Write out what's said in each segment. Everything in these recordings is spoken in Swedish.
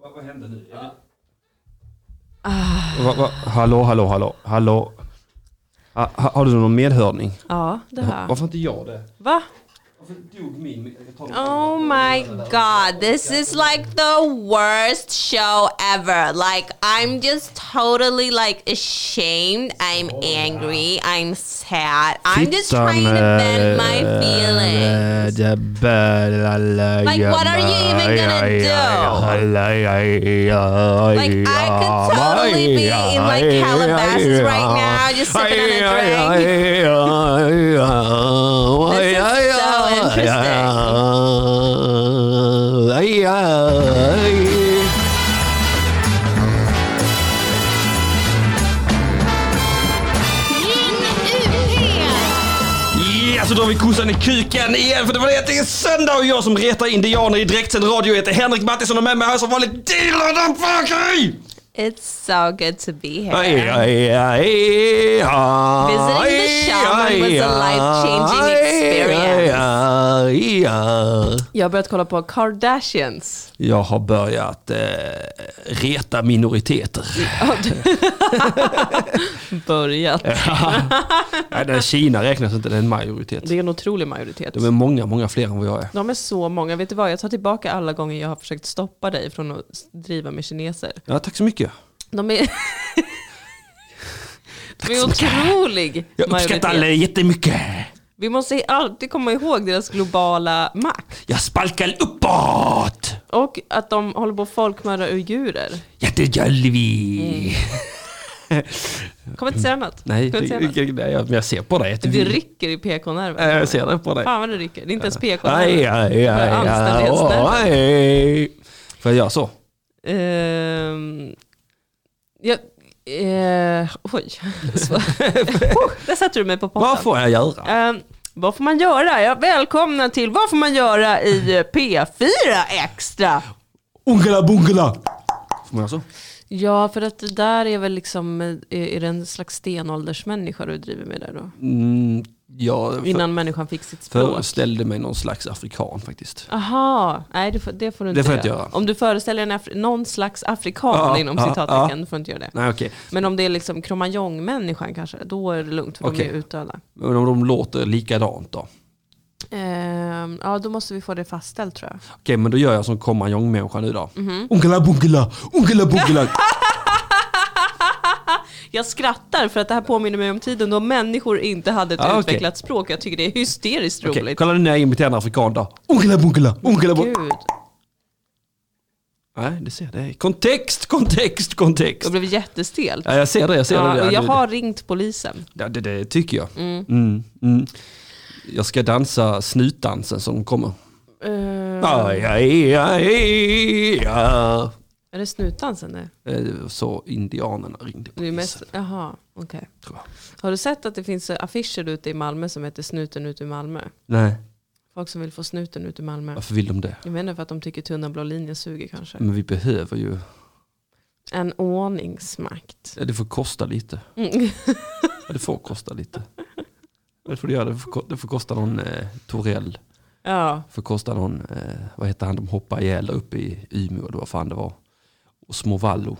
vad, vad hände nu? Jag vet- Va, va, hallå, hallå, hallå, hallå. Ha, ha, har du någon medhörning? Ja, det har jag. Varför inte jag det? Va? Varför dog min? Jag tar den. Oh my god, this is like the worst show ever. Like, I'm just totally like ashamed. I'm angry. I'm sad. I'm just trying to bend my feelings. Like Like, what are you even gonna do? Like, I could totally be in, like, Calabasas right now, just sipping on a drink. This is so interesting. Ring UP! Ja, så drar vi kossan i kuken igen för det var det att det är söndag och jag som retar indianer i direktsänd radio Jag heter Henrik Mattisson och med mig har jag som vanligt Dilan Ampakari! It's so good to be here. Visiting Visiting the the shaman was a life-changing experience. Jag har börjat kolla på Kardashians. Jag har börjat eh, reta minoriteter. Börjat. Nej, det är Kina räknas inte, det är en majoritet. Det är en otrolig majoritet. De är många, många fler än vad jag är. De är så många. Vet du vad, jag tar tillbaka alla gånger jag har försökt stoppa dig från att s- driva med kineser. Ja, tack så mycket. De är... De är otrolig Jag uppskattar alla majoritet. jättemycket. Vi måste alltid komma ihåg deras globala makt. Jag sparkar uppåt! Och att de håller på att folkmörda uigurer. Jättejolvi! Kommer inte säga något. Nej, Kommer det- inte säga något. det- nej, Mm. jag- men jag ser på dig. att Det du- rycker i Nej, PK-nerven. Jag ser det på dig. Fan vad det rycker. Det är inte ens Aj, aj, PK-nerven. aj, aj, aj, Anständighetsnerven. aj. Får jag göra så? Ehm, jag, eh, oj, Så- Oh, där satte du mig på potten. Vad får jag göra? Ehm, vad får man göra? Ja, välkomna till Vad får man göra i eh, P4 Extra? Ungela bungela! Får man göra så? Ja, för att det där är väl liksom, är det en slags stenåldersmänniska du driver med där då? Mm, jag för, Innan människan fick sitt språk? föreställde mig någon slags afrikan faktiskt. Aha, nej det får, det får du inte Det får jag inte göra. Om du föreställer en Afri- någon slags afrikan Ja, inom ja, citattecken, du får inte göra det. Nej okej, Men om det är liksom kromagnon-människan kanske, då är det lugnt för Okej. de är utdöda. men om de låter likadant då? Ehm, ja, då måste vi få det fastställt tror jag. Okej, men då gör jag som kommanjong-människa nu då. Mhm. Mm-hmm. Ungela bungela! Ungela bungela! Jag skrattar för att det här påminner mig om tiden då människor inte hade ett Ah, okej. utvecklat språk. Jag tycker det är hysteriskt Okej, roligt. kolla nu när jag imiterar en afrikan då. Ungela bungela! Ungela bungela! Gud, Nej, det ser jag. det. är Kontext, kontext, kontext. jag blev jättestel. Ja, jag ser det, jag ser det. Ja, och jag det, har ringt polisen. det, det, det tycker jag. Mm, mm. Jag ska dansa snutdansen som kommer. Ehm, Aj, aj, aj, aj. Är det snutdansen nu? Eh, Så indianerna ringde Det polisen. är ju mest, jaha, okej. tror jag. Har du sett att det finns eh, affischer ute i Malmö som heter Snuten ut ur Malmö? Nej, Folk som vill få snuten ut ur Malmö. varför vill de det? Jag menar för att de tycker tunna blå linjen suger kanske. Men vi behöver ju, En ordningsmakt. det får kosta lite. Mm. Ja, Det får kosta lite. Det får det göra, det får, ko- det får kosta någon eh, Torell. Ja, För kosta någon, eh, vad heter han de hoppar ihjäl där uppe i Umeå eller vad fan det var. Och Smovallo.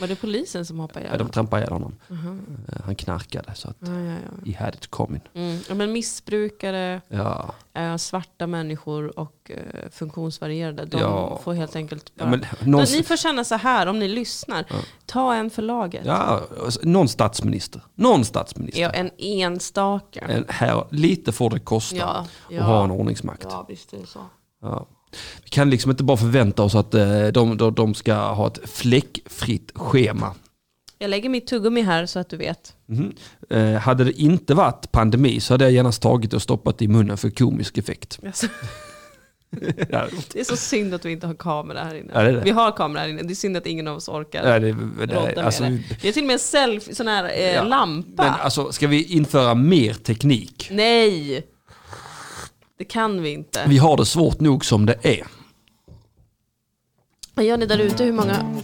var det polisen som hoppade Ja. ihjäl? De trampade ihjäl honom. Aha. Eh, Han knarkade så att Ja, ja, ja. he had it coming. Mm. ja, men missbrukare, Ja, eh, svarta människor och eh, funktionsvarierade, de Ja. får helt enkelt bara... ja, men, någon, men, ni får känna så här om ni lyssnar. Ta en för laget. Ja. ja, alltså, någon statsminister. Någon statsminister. en enstaka. En här, lite får det kosta Ja, ja. att ha en ordningsmakt. Ja, visst är det så. Ja. Vi kan liksom inte bara förvänta oss att eh, de, de, de ska ha ett fläckfritt schema. Jag lägger mitt tuggummi här så att du vet. Mhm. Eh, hade det inte varit pandemi så hade jag genast tagit och stoppat i munnen för komisk effekt. Alltså, Ja, det är så synd att vi inte har kamera här inne. Ja, det är det. Vi har kamera här inne, det är synd att ingen av oss orkar. ja, det, rodda det, med alltså, det. vi- Vi har till och med en selfie, sån här eh, Ja, lampa. men alltså, ska vi införa mer teknik? Nej! Det kan vi inte. Vi har det svårt nog som det är. Vad gör ni där ute? Hur många?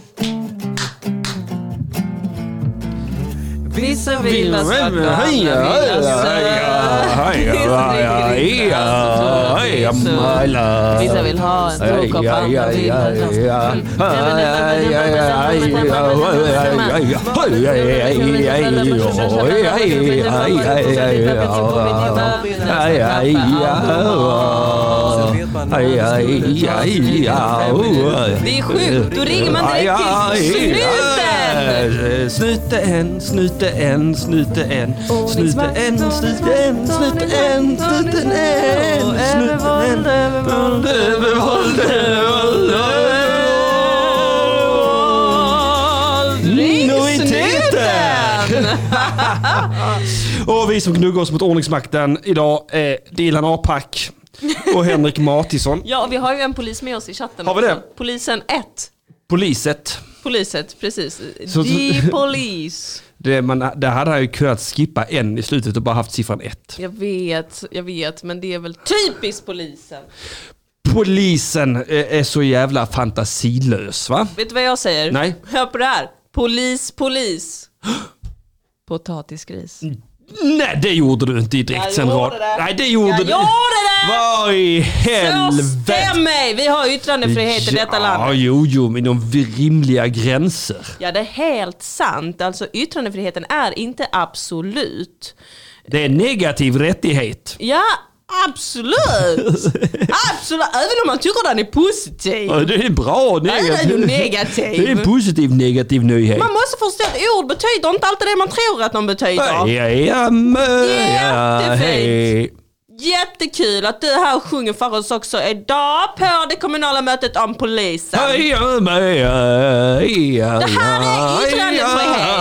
Vissa vill ha svarta, andra vill ha söt. alltså Vissa vill ha en stroke av andra vill ha Det Det är sjukt, då ringer man direkt till snuten! Snuten, Eh, en, snuten, en, snuten, en, snuten, en, snuten, en, snuten, en, snuten, en, snuten, en. Övervåld, övervåld, övervåld, övervåld. Ring Minoriteten! snuten! Och vi som gnuggar oss mot ordningsmakten idag är Dilan Apak och Henrik Matisson. Ja, och vi har ju en polis med oss i chatten. Har vi det? också. Polisen 1. Poliset. Poliset, precis. Så- The police. Det, man, det hade han ju kunnat skippa en i slutet och bara haft siffran ett. Jag vet, jag vet, men det är väl typiskt polisen. Polisen eh, är så jävla fantasilös va? Vet du vad jag säger? Nej. Hör på det här. Polis, polis. Potatisgris. Nej det gjorde du inte i direktsänd Jag gjorde radio. det. Mm, Nej det gjorde Jag du gjorde det! Vad i helvete! Stäm mig! Vi har yttrandefrihet i detta Ja, land. jo, jo, men inom rimliga gränser. Ja, det är helt sant. Alltså yttrandefriheten är inte absolut. Det är negativ rättighet. Ja, absolut! absolut! Även om man tycker den är positiv. Ja, Det är bra negativ. är ju negativ. Det är en positiv negativ nyhet. Man måste förstå att ord betyder inte alltid det man tror att de betyder. Ja, ja, mö, ja, Jättefint. hej. Jättekul att du här sjunger för oss också idag på det kommunala mötet om polisen. Det Det här är yttrandefrihet.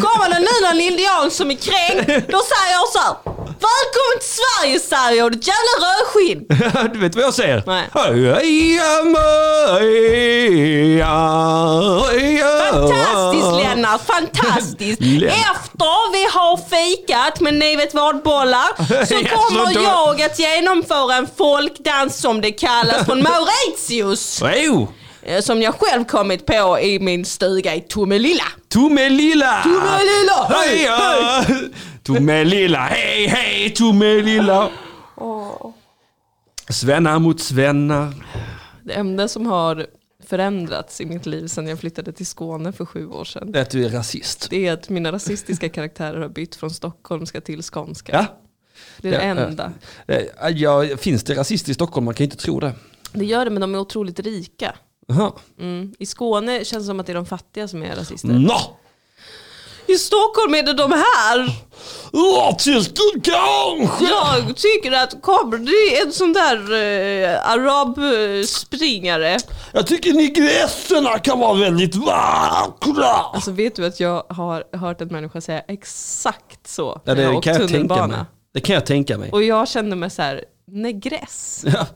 Kommer det nu någon indian som är kränkt, då säger jag så här. Välkommen till Sverige säger jag, ditt jävla rödskinn! Du alltså. vet vad jag säger? Nej. Fantastiskt Fantastiskt Lennart, fantastiskt! Lennart. Efter vi har fikat med Nivet Vadbollar så Ja, så kommer då- jag att genomföra en folkdans som det kallas från Mauritius. Jo, eh, Som jag själv kommit på i min stuga i Tomelilla. Tomelilla! Tomelilla, hej, Ah, hej! Tomelilla, hej, hej, Tomelilla! Svennar mot svennar. Det enda som har förändrats i mitt liv sedan jag flyttade till Skåne för sju år sedan. Att du är rasist. Det är att mina rasistiska karaktärer har bytt från stockholmska till skånska. Ja. Det är det Ja, ja. enda. Eh, Ja, finns det rasister i Stockholm? Man kan ju inte tro det. Det gör det men de är otroligt rika. Jaha. Mm. I Skåne känns det som att det är de fattiga som är rasister. Nå! I Stockholm är det de här. Artisten kanske! Jag tycker att kommer det en sån där eh, arabspringare. Jag tycker nigresterna kan vara väldigt vackra! Alltså vet du att jag har hört en människa säga exakt så Ja, när jag det åkt kan jag tänka tunnelbana. mig. Det kan jag tänka mig. Och jag kände mig så här, negress. Ja.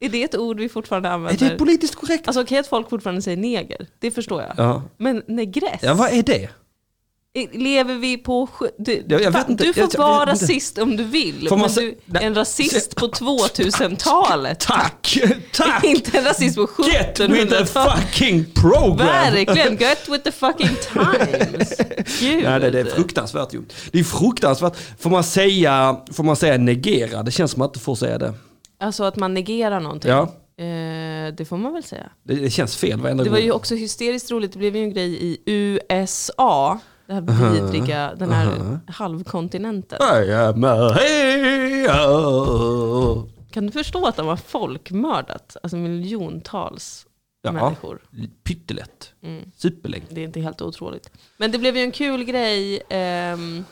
Är det ett ord vi fortfarande Är använder? det politiskt korrekt? Alltså okej att folk fortfarande säger neger, det förstår jag. Ja. Men negress? Ja, vad är det? I- Lever vi på... sj- Du, Jag- jag fan, vet inte. du får Jag- jag vara vet inte. rasist om du vill, Får man men se- du är Nej. en rasist på 2000-talet. Tack! Tack! Inte en rasist på Get with the 1700-talet. fucking program! Verkligen, get with the fucking times. Gud. Nej, det, det är fruktansvärt ju. Det är fruktansvärt. Får man säga, får man säga negera? Det känns som att man inte får säga det. Alltså att man negerar någonting. Ja. Eh, det får man väl säga. Det, det känns fel varenda Det var gång. ju också hysteriskt roligt, det blev ju en grej i USA, det här vidriga, den här halvkontinenten. I am a hero. Kan du förstå att de har folkmördat alltså miljontals Ja. människor? Pyttelätt. Mm. Superlänge. Det är inte helt otroligt. Men det blev ju en kul grej ehm,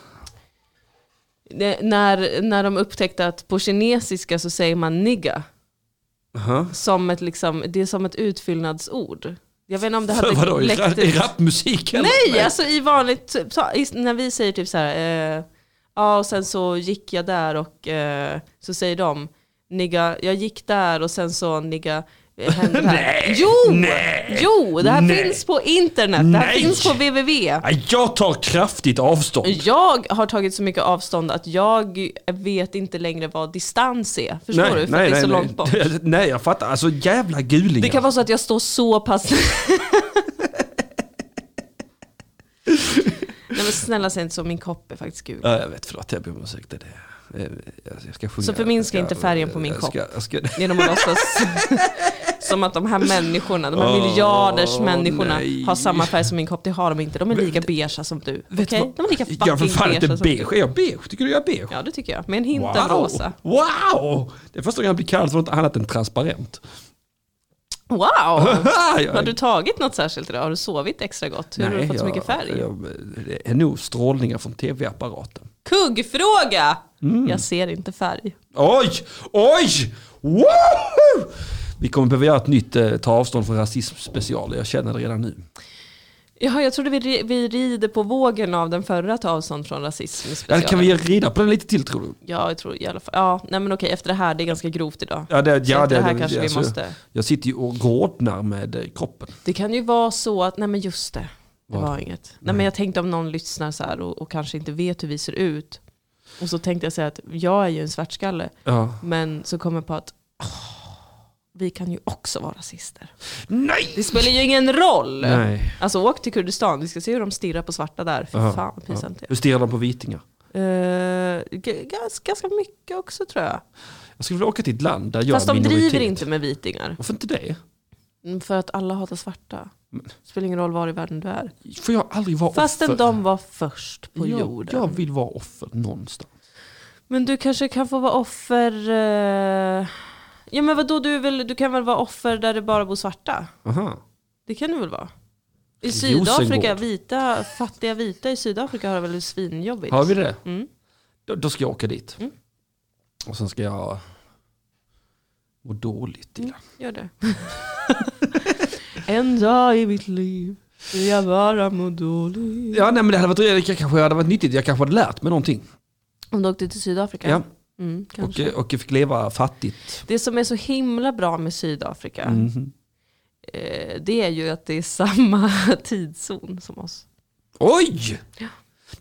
det- när, när de upptäckte att på kinesiska så säger man nigga. Aha. Som ett, liksom, det är som ett utfyllnadsord. Jag vet inte om det För hade vadå, i, läckt ra- i ut. rapmusik eller? Nej, alltså i vanligt, typ, så, i, när vi säger typ så här, eh, ja och sen så gick jag där och eh, så säger de, nigga, jag gick där och sen så nigga, eh, hände det här. Nej, jo, nej, jo, det här nej. finns på internet, det här Nej. finns på www. Nej, Jag tar kraftigt avstånd. Jag har tagit så mycket avstånd att jag vet inte längre vad distans är. Förstår du? För att det är så långt bort. nej. Nej, jag fattar. Alltså jävla gulingar. Det kan vara så att jag står så pass... Nej, men snälla säg inte så, min kopp är faktiskt gul. Ja, jag vet, förlåt jag ber om ursäkt. Det är det. Eh, Jag, jag ska sjunga. Så förminska jag ska- inte färgen på min jag ska, jag ska, Genom att låtsas som att de här människorna, de här miljarders Åh, människorna nej. har samma färg som min kopp. Det har de inte, de är lika beigea som du. Okej? De är lika fucking jag är för fan beiga inte som du. beige, är jag beige? Tycker du jag är beige? Ja det tycker jag, med en hint av rosa. Wow! Det är första gången jag blir kallad för något annat än transparent. Wow! Jag- Har du tagit något särskilt idag? Har du sovit extra gott? Hur har du fått så jag- mycket färg? Jag, det är nog strålningar från tv-apparaten. Kuggfråga! Mm. Jag ser inte färg. Oj! Oj! Woho! Vi kommer behöva göra ett nytt eh, ta avstånd från rasism special, jag känner det redan nu. Jaha, jag trodde vi, ri- vi rider på vågen av den förra ta avstånd från rasism. Ja, specialen. kan vi rida på den lite till tror du? Ja, jag tror i alla fall. Ja, nej men okej, efter det här, det är ganska grovt idag. Ja, det, Så ja, efter det här det- kanske vi alltså, måste- Jag sitter ju och rodnar med eh, kroppen. Det kan ju vara så att, nej men just det, det Vad? var inget. Nej, men jag tänkte om någon lyssnar så här och, och kanske inte vet hur vi ser ut. Och så tänkte jag säga att jag är ju en svartskalle, Ja. men så kommer jag på att åh, vi kan ju också vara rasister. Nej! Det spelar ju ingen roll. Nej. Alltså åk till Kurdistan, vi ska se hur de stirrar på svarta där. Fy Ja, fan vad pinsamt det är. Hur stirrar de på vitingar? Eh, g- gans- ganska mycket också tror jag. Jag skulle vilja åka till ett land där jag Fast är de minoritet. driver inte med vitingar. Varför inte det? Mm, För att alla hatar svarta. Spelar ingen roll var i världen du är. Får jag aldrig vara offer? Fastän de var först på jag, jorden. Jag vill vara offer någonstans. Men du kanske kan få vara offer... eh, Ja men vadå, du, är väl, du kan väl vara offer där det bara bor svarta? Aha. Det kan du väl vara? I Rosengård. Sydafrika, vita, fattiga vita i Sydafrika har det väl svinjobbigt? Har vi det? Mm. Då, då ska jag åka dit. Mm. Och sen ska jag må dåligt i det. Gör det. en dag i mitt liv vill jag bara må dåligt. Ja, nej, men det hade varit, det kanske hade varit nyttigt. Jag kanske hade lärt mig någonting. Om du åkte till Sydafrika? Ja. Mm, kanske. Och, eh, och jag fick leva fattigt. Det som är så himla bra med Sydafrika, Mhm. eh, det är ju att det är samma tidszon som oss. Oj!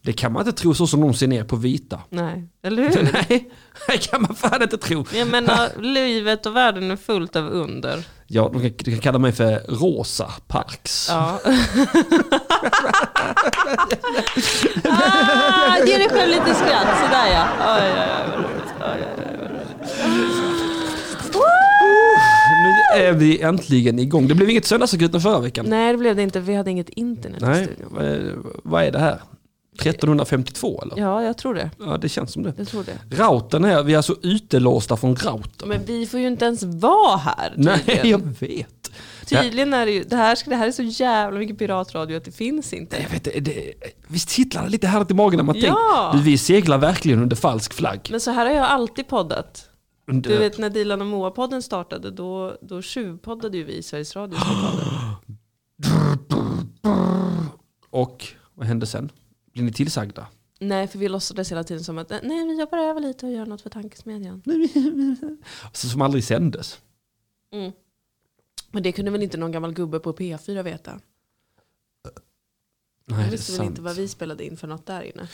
Det kan man inte tro så som de ser ner på vita. Nej, eller hur? Nej, det kan man fan inte tro. Jag menar, livet och världen är fullt av under. Ja, de kan, de kan kalla mig för Rosa Parks. Ja. ah, ge dig själv lite skratt, sådär ja. Oj, oj, oj, vad roligt. Oj, oj, oj. Nu är vi äntligen igång. Det blev inget söndagsakuten förra veckan. Nej, det blev det inte. Vi hade inget internet i Nej, studion. vad är, vad är det här? 1352 eller? Ja, jag tror det. Ja, det känns som det. Jag tror det. Routern här, vi är alltså utelåsta från routern. Men vi får ju inte ens vara här Nej, tydligen. jag vet. Tydligen är det ju, det här, ska- det här är så jävla mycket piratradio att det finns inte. Jag vet det, det, visst kittlar det lite härligt i magen när man Ja. tänker, du, vi seglar verkligen under falsk flagg. Men så här har jag alltid poddat. Under, Du vet när Dilan och Moa-podden startade, då, då tjuvpoddade ju vi i Sveriges Radio. Och vad hände sen? Blev ni tillsagda? Nej, för vi låtsades hela tiden som att "Eh, nej, vi jobbar över lite och gör något för tankesmedjan. Alltså, som aldrig sändes. Mm. Men det kunde väl inte någon gammal gubbe på P4 veta? Nej, Han det är visste väl sant. inte vad vi spelade in för något där inne.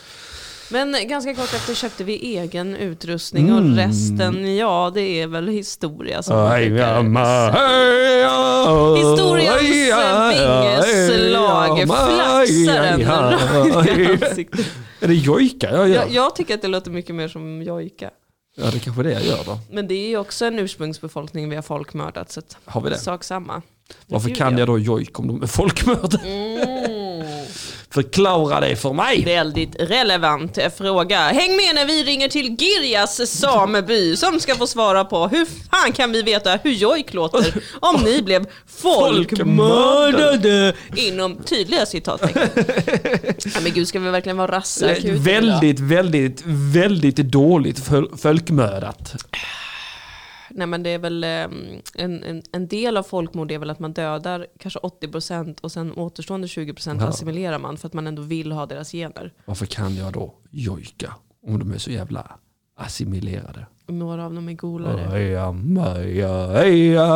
Men eh, ganska kort efter köpte vi egen utrustning och resten, ja det är väl historia som man Mm. Aj, ja, ma, brukar säga. aj, ja, Historiens aj, ja, vingeslag aj, ja, ma, flaxar aj, en ja, rakt i aj. ansiktet. Är det jojka jag Jag, gör? jag tycker att det låter mycket mer som jojka. Ja, det kanske är det jag gör då. Men det är ju också en ursprungsbefolkning vi har folkmördat så att Har vi det? sak samma. Varför kan jag då jojk om de är folkmördare? Mm. Förklara det för mig! Väldigt relevant fråga. Häng med när vi ringer till Girjas sameby som ska få svara på hur fan kan vi veta hur jojk låter om ni blev folkmördade inom tydliga citattecken. Nej men gud ska vi verkligen vara Eh, rassakuten idag? Väldigt, väldigt, väldigt dåligt föl- folkmördat. Nej men det är väl ehm, en, en, en del av folkmord är väl att man dödar kanske 80% och sen återstående 20% Ja. assimilerar man för att man ändå vill ha deras gener. Varför kan jag då jojka om de är så jävla assimilerade? Och några av dem är golare. Aja, maja, aja,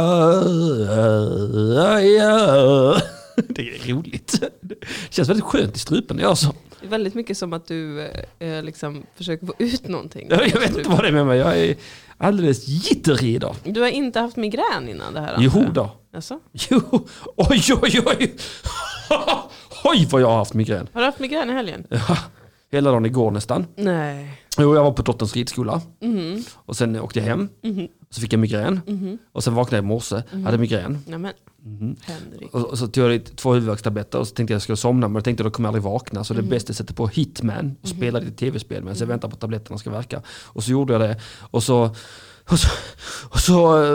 aja. Det är roligt. Det känns väldigt skönt i strupen när jag gör så. Det är väldigt mycket som att du eh, liksom försöker få ut någonting. Jag vet inte vad det är med mig. Jag är alldeles jitterig idag. Du har inte haft migrän innan det här? Jo antar jag? då. Alltså? Jo, oj oj oj. Oj vad jag har haft migrän. Har du haft migrän i helgen? Hela dagen igår nästan. Nej. Jo, jag var på dotterns ridskola. Och sen åkte jag hem. Så fick jag migrän. Och sen vaknade jag i morse, hade migrän. Nej men. Henrik. Mm-hmm. Och, och så tog jag lite- två huvudvärkstabletter och så tänkte jag att jag skulle somna men jag tänkte att jag kommer aldrig vakna så det Mm. bästa är att sätta på Hitman Mm-hmm. och spela lite tv-spel medan jag väntar på att tabletterna ska verka. Och så gjorde jag det och så och så, och så eh,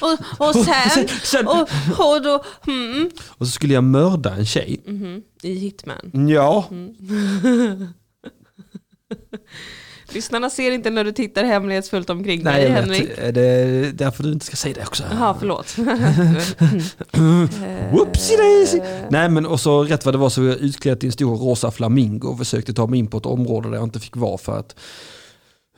Och, och sen, sen, och, och då, mm, och så skulle jag mörda en tjej. mm-hmm. I Hitman. Ja, Mm, Lyssnarna ser inte när du tittar hemlighetsfullt omkring dig nej jag Henrik. vet. Eh, Det är därför du inte ska säga det också. Jaha, förlåt. Eh, Whoopsie daisy! Eh. Nej men och så rätt vad det var så var jag utklädd till en stor rosa flamingo och försökte ta mig in på ett område där jag inte fick vara för att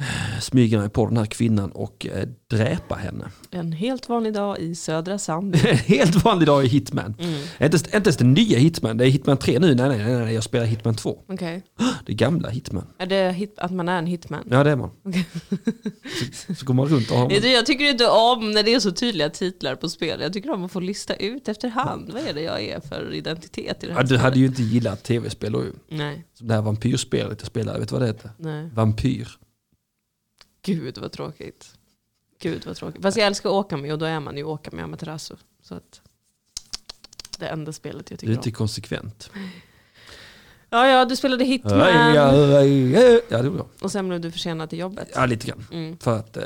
eh, smyga mig på den här kvinnan och eh, dräpa henne. en helt vanlig dag i södra Mm. Zambia. En helt vanlig dag i Hitman. Inte, ens- inte ens den nya Hitman, det är Hitman 3 nu. Nej, nej, nej, nej jag spelar Hitman 2. Okej. Det gamla Hitman. Är det hit, att man är en hitman? Ja, det är man. Så, så går man runt och har... Vet du, Jag tycker inte om när det är så tydliga titlar på spel. Jag tycker om att få lista ut efterhand. Vad är det jag är för identitet i det här Ja, du hade spelet? ju inte gillat tv-spel då ju. Nej, Som det här vampyrspelet jag spelade, vet du vad det heter? nej. Vampyr. Gud vad tråkigt. Gud vad tråkigt. Fast jag älskar Åkami och då är man ju Åkami Amaterasu. Så att det enda spelet jag Du är tycker inte om. konsekvent. Ja, ja, du spelade Hitman Ja, ja, ja, ja, det gjorde jag. och sen blev du försenad till jobbet. Ja, lite grann. Mm. För att eh,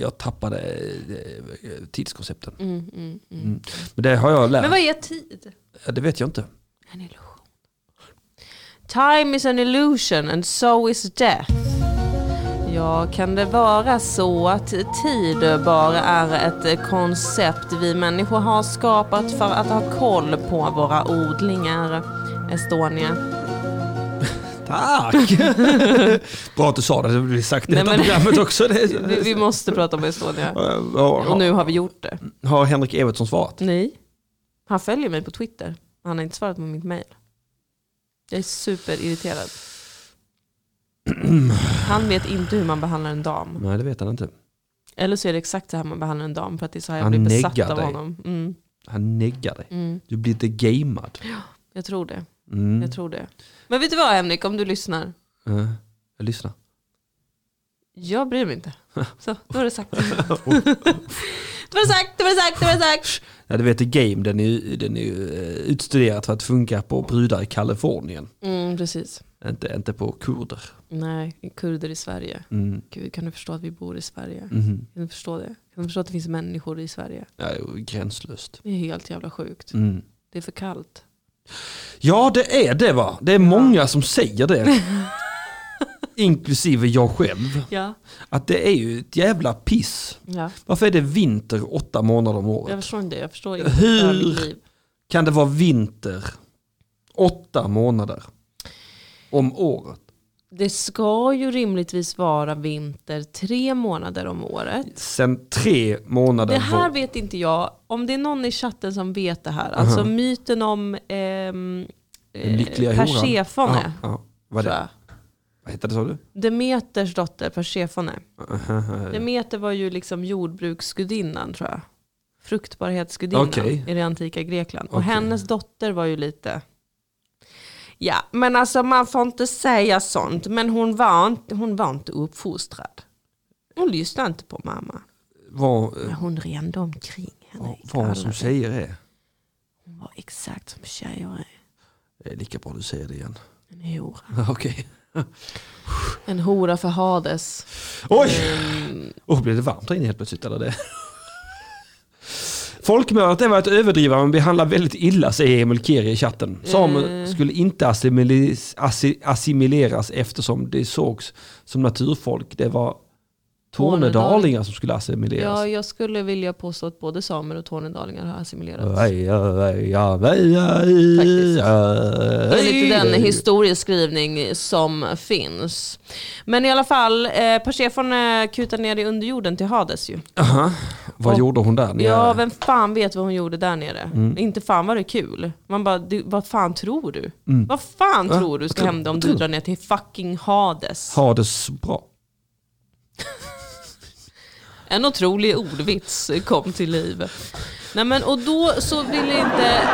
jag tappade eh, tidskoncepten. Mm, mm, mm. Mm. Men det har jag lärt Men vad är tid? Ja, Det vet jag inte. En illusion. Time is an illusion and so is death. Ja, kan det vara så att tid bara är ett koncept vi människor har skapat för att ha koll på våra odlingar? Estonia. Tack! Bra att du sa det, det blir sagt i Nej, detta men- programmet också. Det är- Vi, vi måste prata om Estonia. Och Har, nu har vi gjort det. har Henrik Evertsson svarat? Nej. Han följer mig på Twitter. Han har inte svarat på mitt mail. Jag är superirriterad. Han vet inte hur man behandlar en dam. Nej det vet han inte. Eller så är det exakt så här man behandlar en dam för att det är så här jag Han blir besatt neggar av dig. honom. Mm, Han neggar dig. mm. Du blir inte gamad. Jag tror det. Mm. Jag tror det. Men vet du vad Henrik, om du lyssnar. Eh, jag lyssnar. Jag bryr mig inte. Så, då har du sagt. det var sagt, det var sagt, det var sagt. Ja, du vet The Game, den är ju den är ju, eh, utstuderad för att funka på brudar i Kalifornien. Mm, precis. Inte, inte på kurder. Nej, kurder i Sverige. Mm. Gud, kan du förstå att vi bor i Sverige? Mhm. Kan du förstå det? Kan du förstå att det finns människor i Sverige? Ja, det är ju gränslöst. Det är helt jävla sjukt. Mm. Det är för kallt. Ja det är det va? Det är många som säger det. Inklusive jag själv. Ja. Att det är ju ett jävla piss. ja. Varför är det vinter åtta månader om året? Jag förstår inte. Jag förstår inte Hur? för mitt liv. kan det vara vinter åtta månader om året? Det ska ju rimligtvis vara vinter tre månader om året. Sen tre månader Det här vår. vet inte jag. Om det är någon i chatten som vet det här. Alltså myten om ehm, Uh-huh. Den lyckliga eh, Persefone. Ja, ja. Vad, Tror det, jag. vad hette det sa du? Demeters dotter Persefone. Aha. Demeter var ju liksom jordbruksgudinnan tror jag. Fruktbarhetsgudinnan Okej. i det antika Grekland. Och Okej. hennes dotter var ju lite... Ja, men alltså man får inte säga sånt. Men hon var inte, hon var inte uppfostrad. Hon lyssnade inte på mamma. Vad, Men hon rände omkring henne. vad, i vad som landet. säger det? Hon var exakt som tjejer är. Det är lika bra du säger det igen. En hora. Okej. En hora för Hades. Ehm, Oj! Oh, blev det varmt här inne helt plötsligt? Eller det? Folkmordet är att överdriva men behandlar väldigt illa, säger Emil Keri i chatten. Samer Eh. skulle inte assimilis- assi- assimileras eftersom det sågs som naturfolk. Det var tornedalingar som skulle Ja, assimileras. jag skulle vilja påstå att både samer och tornedalingar har assimilerats. Aj, aj, aj, aj, aj, Faktiskt. aj. Enligt den historieskrivning som finns. Men i alla fall, eh, Persefone kutar ner i underjorden till Hades ju. Aha. Vad Och- gjorde hon där nere? Ja, vem fan vet vad hon gjorde där nere? Mm. Inte fan var det kul. Man bara, du, vad fan tror du? Vad fan Mm. Va? tror du ska Vad tror- hända om vad du tror du? drar ner till fucking Hades? Har det så bra. En otrolig ordvits kom till liv. Nej, men, och då så ville inte...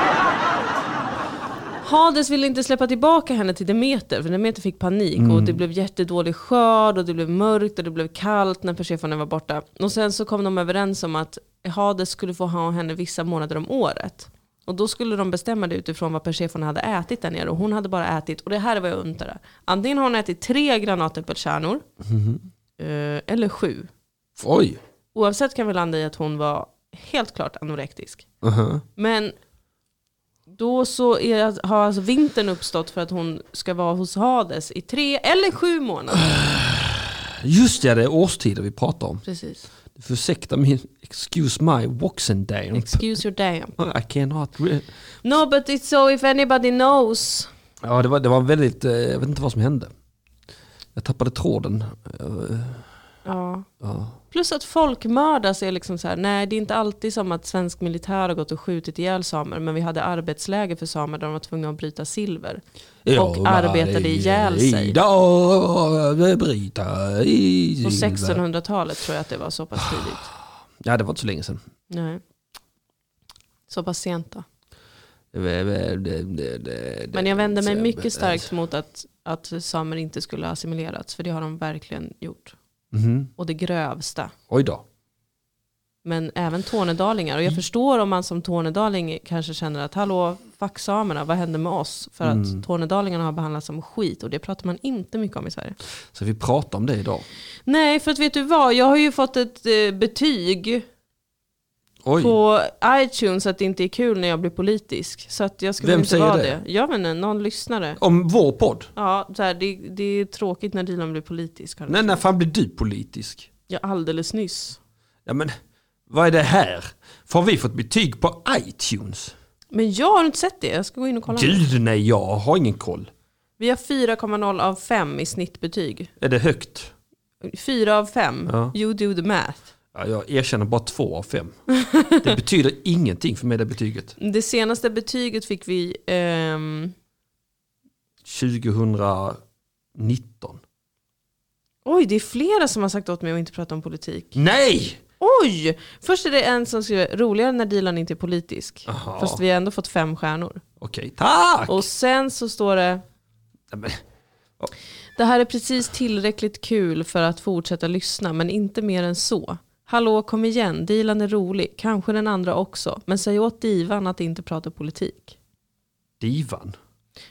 Hades ville inte släppa tillbaka henne till Demeter, för Demeter fick panik och det blev jättedålig skörd och det blev mörkt och det blev kallt när Persefone var borta. Och sen så kom de överens om att Hades skulle få ha henne vissa månader om året. Och då skulle de bestämma det utifrån vad Persefone hade ätit där nere och hon hade bara ätit, och det här är vad jag undrar. Antingen har hon ätit tre granatäppelkärnor, eh, eller sju. Oj! Oavsett kan vi landa i att hon var helt klart anorektisk. Aha. Men då så är, har alltså vintern uppstått för att hon ska vara hos Hades i tre eller sju månader. Just det, det är årstider vi pratar om. Precis. Ursäkta min, excuse my waxen day. Ah, Excuse your damn. I cannot re- No but it's so if anybody knows. Ja, det var, det var väldigt, eh, jag vet inte vad som hände. Jag tappade tråden. Eh, Ja. Ja. Plus att folkmördas är liksom så här, nej det är inte alltid som att svensk militär har gått och skjutit ihjäl samer, men vi hade arbetsläger för samer där de var tvungna att bryta silver. Och arbetade ihjäl sig. Idag, bryta i På silver. 1600-talet tror jag att det var så pass tidigt. Ja, det var inte så länge sedan. Nej. Så pass sent då. Det, det, det, det, det, Men jag vänder mig det- mycket starkt mot att, att samer inte skulle ha assimilerats, för det har de verkligen gjort. Mhm. Och det grövsta. Oj då. Men även tornedalingar. Mm. Och jag förstår om man som tornedaling kanske känner att hallå, fuck samerna, vad hände med oss? För Mm. att tornedalingarna har behandlats som skit och det pratar man inte mycket om i Sverige. Så vi pratar om det idag. Nej, för att vet du vad, jag har ju fått ett eh, betyg Oj. på iTunes att det inte är kul när jag blir politisk. Så att jag ska Vem väl inte säger vara det? det. Jag vet inte, någon lyssnare. Om vår podd? Ja, så här, det, det är tråkigt när Dilan blir politisk. har de Nej, när fan blir du politisk? Ja, alldeles nyss. Ja, men vad är det här? För har vi fått betyg på iTunes? Men jag har inte sett det. Jag ska gå in och kolla. Gud nej, jag har ingen koll. Vi har 4,0 av 5 i snittbetyg. Är det högt? 4 av 5. Ja. You do the math. Ja, jag erkänner bara två av fem. Det betyder ingenting för mig det betyget. Det senaste betyget fick vi... ehm, 2019. Oj, det är flera som har sagt åt mig att inte prata om politik. Nej! Oj! Först är det en som skriver roligare när Dilan inte är politisk. Aha. Fast vi har ändå fått fem stjärnor. Okej, tack! Och sen så står det Nej, men- Det här är precis tillräckligt kul för att fortsätta lyssna, men inte mer än så. Hallå, kom igen, Dilan är rolig, kanske den andra också, men säg åt divan att inte prata politik. Divan.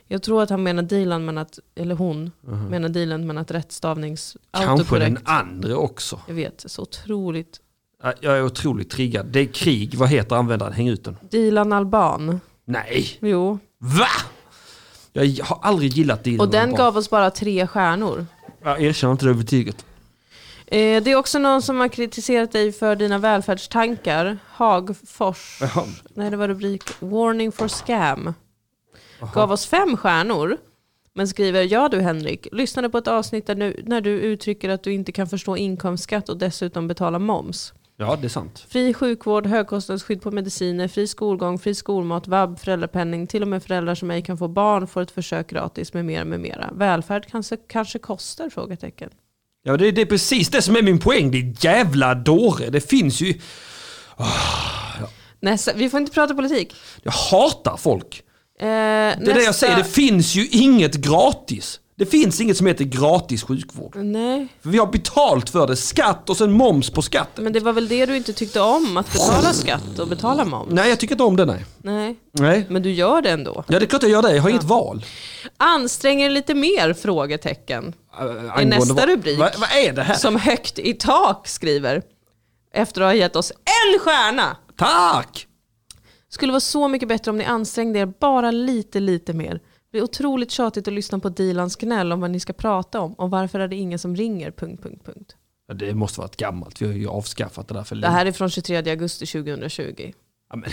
Jag tror att han menar Dilan, men att, eller hon menar Dilan, men att rättstavnings... Uh-huh. Kanske den autokorrekt- andra också. Jag vet, så otroligt. Ja, Jag är otroligt triggad. Det är krig. Vad heter användaren? Häng ut den. Dilan Alban, Nej! jo. Va? Jag har aldrig gillat Dilan Och den Alban. gav oss bara tre stjärnor. Jag erkänner inte det betyget. Eh, det är också någon som har kritiserat dig för dina välfärdstankar. Hagfors. Jaha. Nej, det var rubrik Warning for Scam. Gav oss fem stjärnor. Men skriver, ja du Henrik, lyssnade på ett avsnitt där nu, när du uttrycker att du inte kan förstå inkomstskatt och dessutom betala moms. Ja, det är sant. Fri sjukvård, högkostnadsskydd på mediciner, fri skolgång, fri skolmat, vab, föräldrapenning, till och med föräldrar som ej kan få barn får ett försök gratis med mera, med mera. Välfärd kanske, kanske kostar? Frågetecken. Ja, det, det är precis det som är min poäng. Det är jävla dåre. Det finns ju... Nästa, vi får inte prata politik. Jag hatar folk. Eh, Det är det jag säger. Det finns ju inget gratis. Det finns inget som heter gratis sjukvård. Nej, För vi har betalt för det. Skatt och sen moms på skatten. men det var väl det du inte tyckte om? Att betala skatt och betala moms? Nej, jag tycker inte om det. Nej. Nej, nej. men du gör det ändå. Ja, det är klart jag gör det. Jag har inget val. Anstränger dig lite mer? Frågetecken. Äh, angående nästa vad- rubrik. Vad, vad är det här? Som högt i tak skriver. Efter att ha gett oss en stjärna. Tack! Skulle vara så mycket bättre om ni ansträngde er bara lite, lite mer. Det är otroligt tjatigt att lyssna på Dilans gnäll om vad ni ska prata om och varför är det ingen som ringer? Punkt, punkt, punkt. Ja, det måste vara ett gammalt. Vi har ju avskaffat det där för Det länge här är från 23 augusti 2020. Ja, men.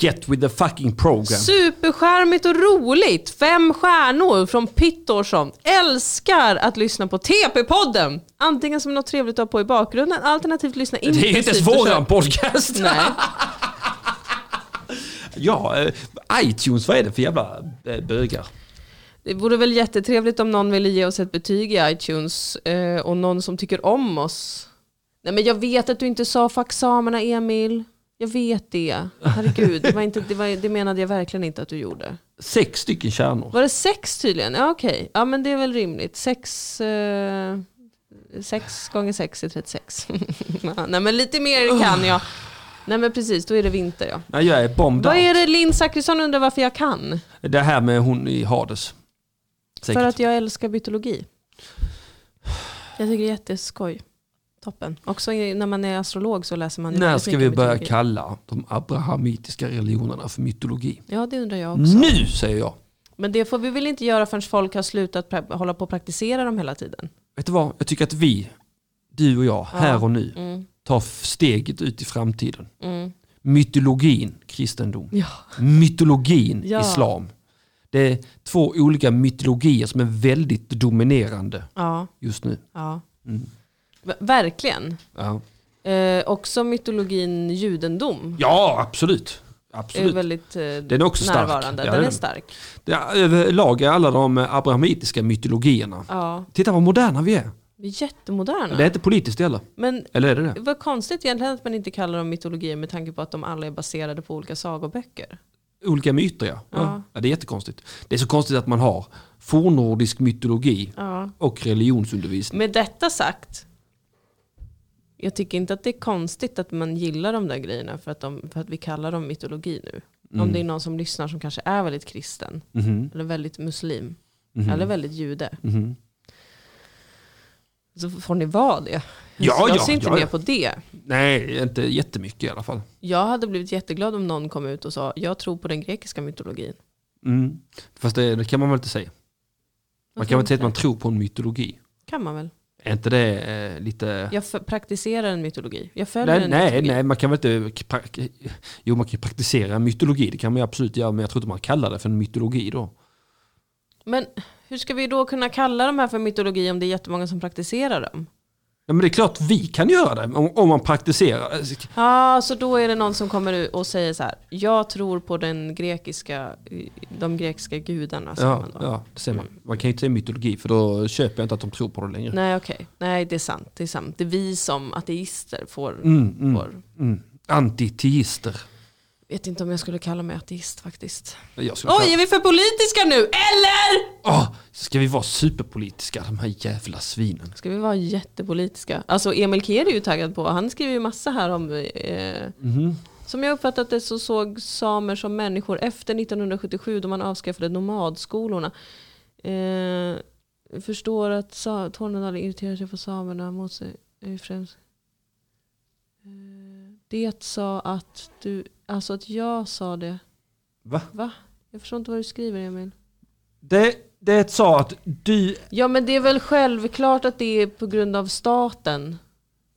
Get with the fucking program. Superskärmigt och roligt! Fem stjärnor från Pittorsson. Älskar att lyssna på TP-podden! Antingen som något trevligt att ha på i bakgrunden, alternativt lyssna det är ju intensivt inte och ens våran köra- podcast. Nej. Ja, eh, iTunes, vad är det för jävla eh, bögar? Det vore väl jättetrevligt om någon ville ge oss ett betyg i iTunes eh, och någon som tycker om oss. Nej men jag vet att du inte sa fuck samerna Emil. Jag vet det. Herregud, det, var inte, det, var, det menade jag verkligen inte att du gjorde. Sex stycken kärnor. Var det sex tydligen? Ja okej, ja men det är väl rimligt. Sex, eh, sex gånger sex är 36. ja, nej men lite mer kan jag. Nej men precis, då är det vinter ja. Nej, jag är bombad. Vad är det Linn Zachrisson undrar varför jag kan? det? här med hon i Hades. Säkert. För att jag älskar mytologi. Jag tycker det är jätteskoj. Toppen. Också i- när man är astrolog så läser man ju När väldigt ska mycket vi börja mytologi. kalla de abrahamitiska religionerna för mytologi? Ja det undrar jag också. Nu säger jag. Men det får vi väl inte göra förrän folk har slutat pra- hålla på och praktisera dem hela tiden. Vet du vad? Jag tycker att vi, du och jag, här och nu, Mm. tar f- steget ut i framtiden. Mm. Mytologin, kristendom. Ja. Mytologin, Ja. islam. Det är två olika mytologier som är väldigt dominerande Ja, just nu. ja. Mm. V- verkligen. Ja, Eh, också mytologin judendom ja absolut. är absolut. väldigt eh, Den är också stark. närvarande. Ja, den det är är den. stark. Det är, överlag är alla de abrahamitiska mytologierna. Ja. Titta vad moderna vi är. Vi är jättemoderna. Det är inte politiskt heller. Men Eller är det det? vad konstigt egentligen att man inte kallar dem mytologier med tanke på att de alla är baserade på olika sagoböcker. Olika myter ja. Ja. ja. ja det är jättekonstigt. Det är så konstigt att man har fornnordisk mytologi Ja. och religionsundervisning. Med detta sagt, jag tycker inte att det är konstigt att man gillar de där grejerna för att, de, för att vi kallar dem mytologi nu. Om det är någon som lyssnar som kanske är väldigt kristen, Mm. Mhm, eller väldigt muslim, mhm, eller väldigt jude. mhm. Så får ni vara det. Ja, jag ja, ser inte ja, ner ja. på det. Nej, inte jättemycket i alla fall. Jag hade blivit jätteglad om någon kom ut och sa, jag tror på den grekiska mytologin. Mm. Fast det, det kan man väl inte säga. Man Varför kan väl inte säga inte? att man tror på en mytologi. Kan man väl? Är inte det eh, lite... Jag f- praktiserar en mytologi. Jag följer Nej, en nej, mytologi. nej, man kan väl inte... pra- Jo, man kan ju praktisera mytologi, det kan man ju absolut göra, men jag tror inte man kallar det för en mytologi då. Men hur ska vi då kunna kalla de här för mytologi om det är jättemånga som praktiserar dem? Ja, men det är klart vi kan göra det, om, om man praktiserar. Ja, så då är det någon som kommer ut och säger så här. Jag tror på den grekiska, de grekiska gudarna. säger Ja, man då. ja, det ser man. Man kan ju inte säga mytologi, för då köper jag inte att de tror på det längre. Nej, okej. Nej, det är sant. Det är sant. Det är vi som ateister får... Mm, mm, får. mm. Antiteister. Vet inte om jag skulle kalla mig ateist faktiskt. Jag skulle Oj, är vi för politiska nu? Eller? Åh, ska vi vara superpolitiska, de här jävla svinen? Ska vi vara jättepolitiska? Alltså Emil Keri är ju taggad på. Han skriver ju massa här om... Eh, Som jag uppfattat det så såg samer som människor efter 1977 då man avskaffade nomadskolorna. Eh, förstår att sa- Tornedalen irriterar sig på samerna mot sig. är ju Främst. Eh, det sa att du... Alltså att jag sa det. Va? Va? Jag förstår inte vad du skriver Emil. Det, det sa att du... Ja men det är väl självklart att det är på grund av staten.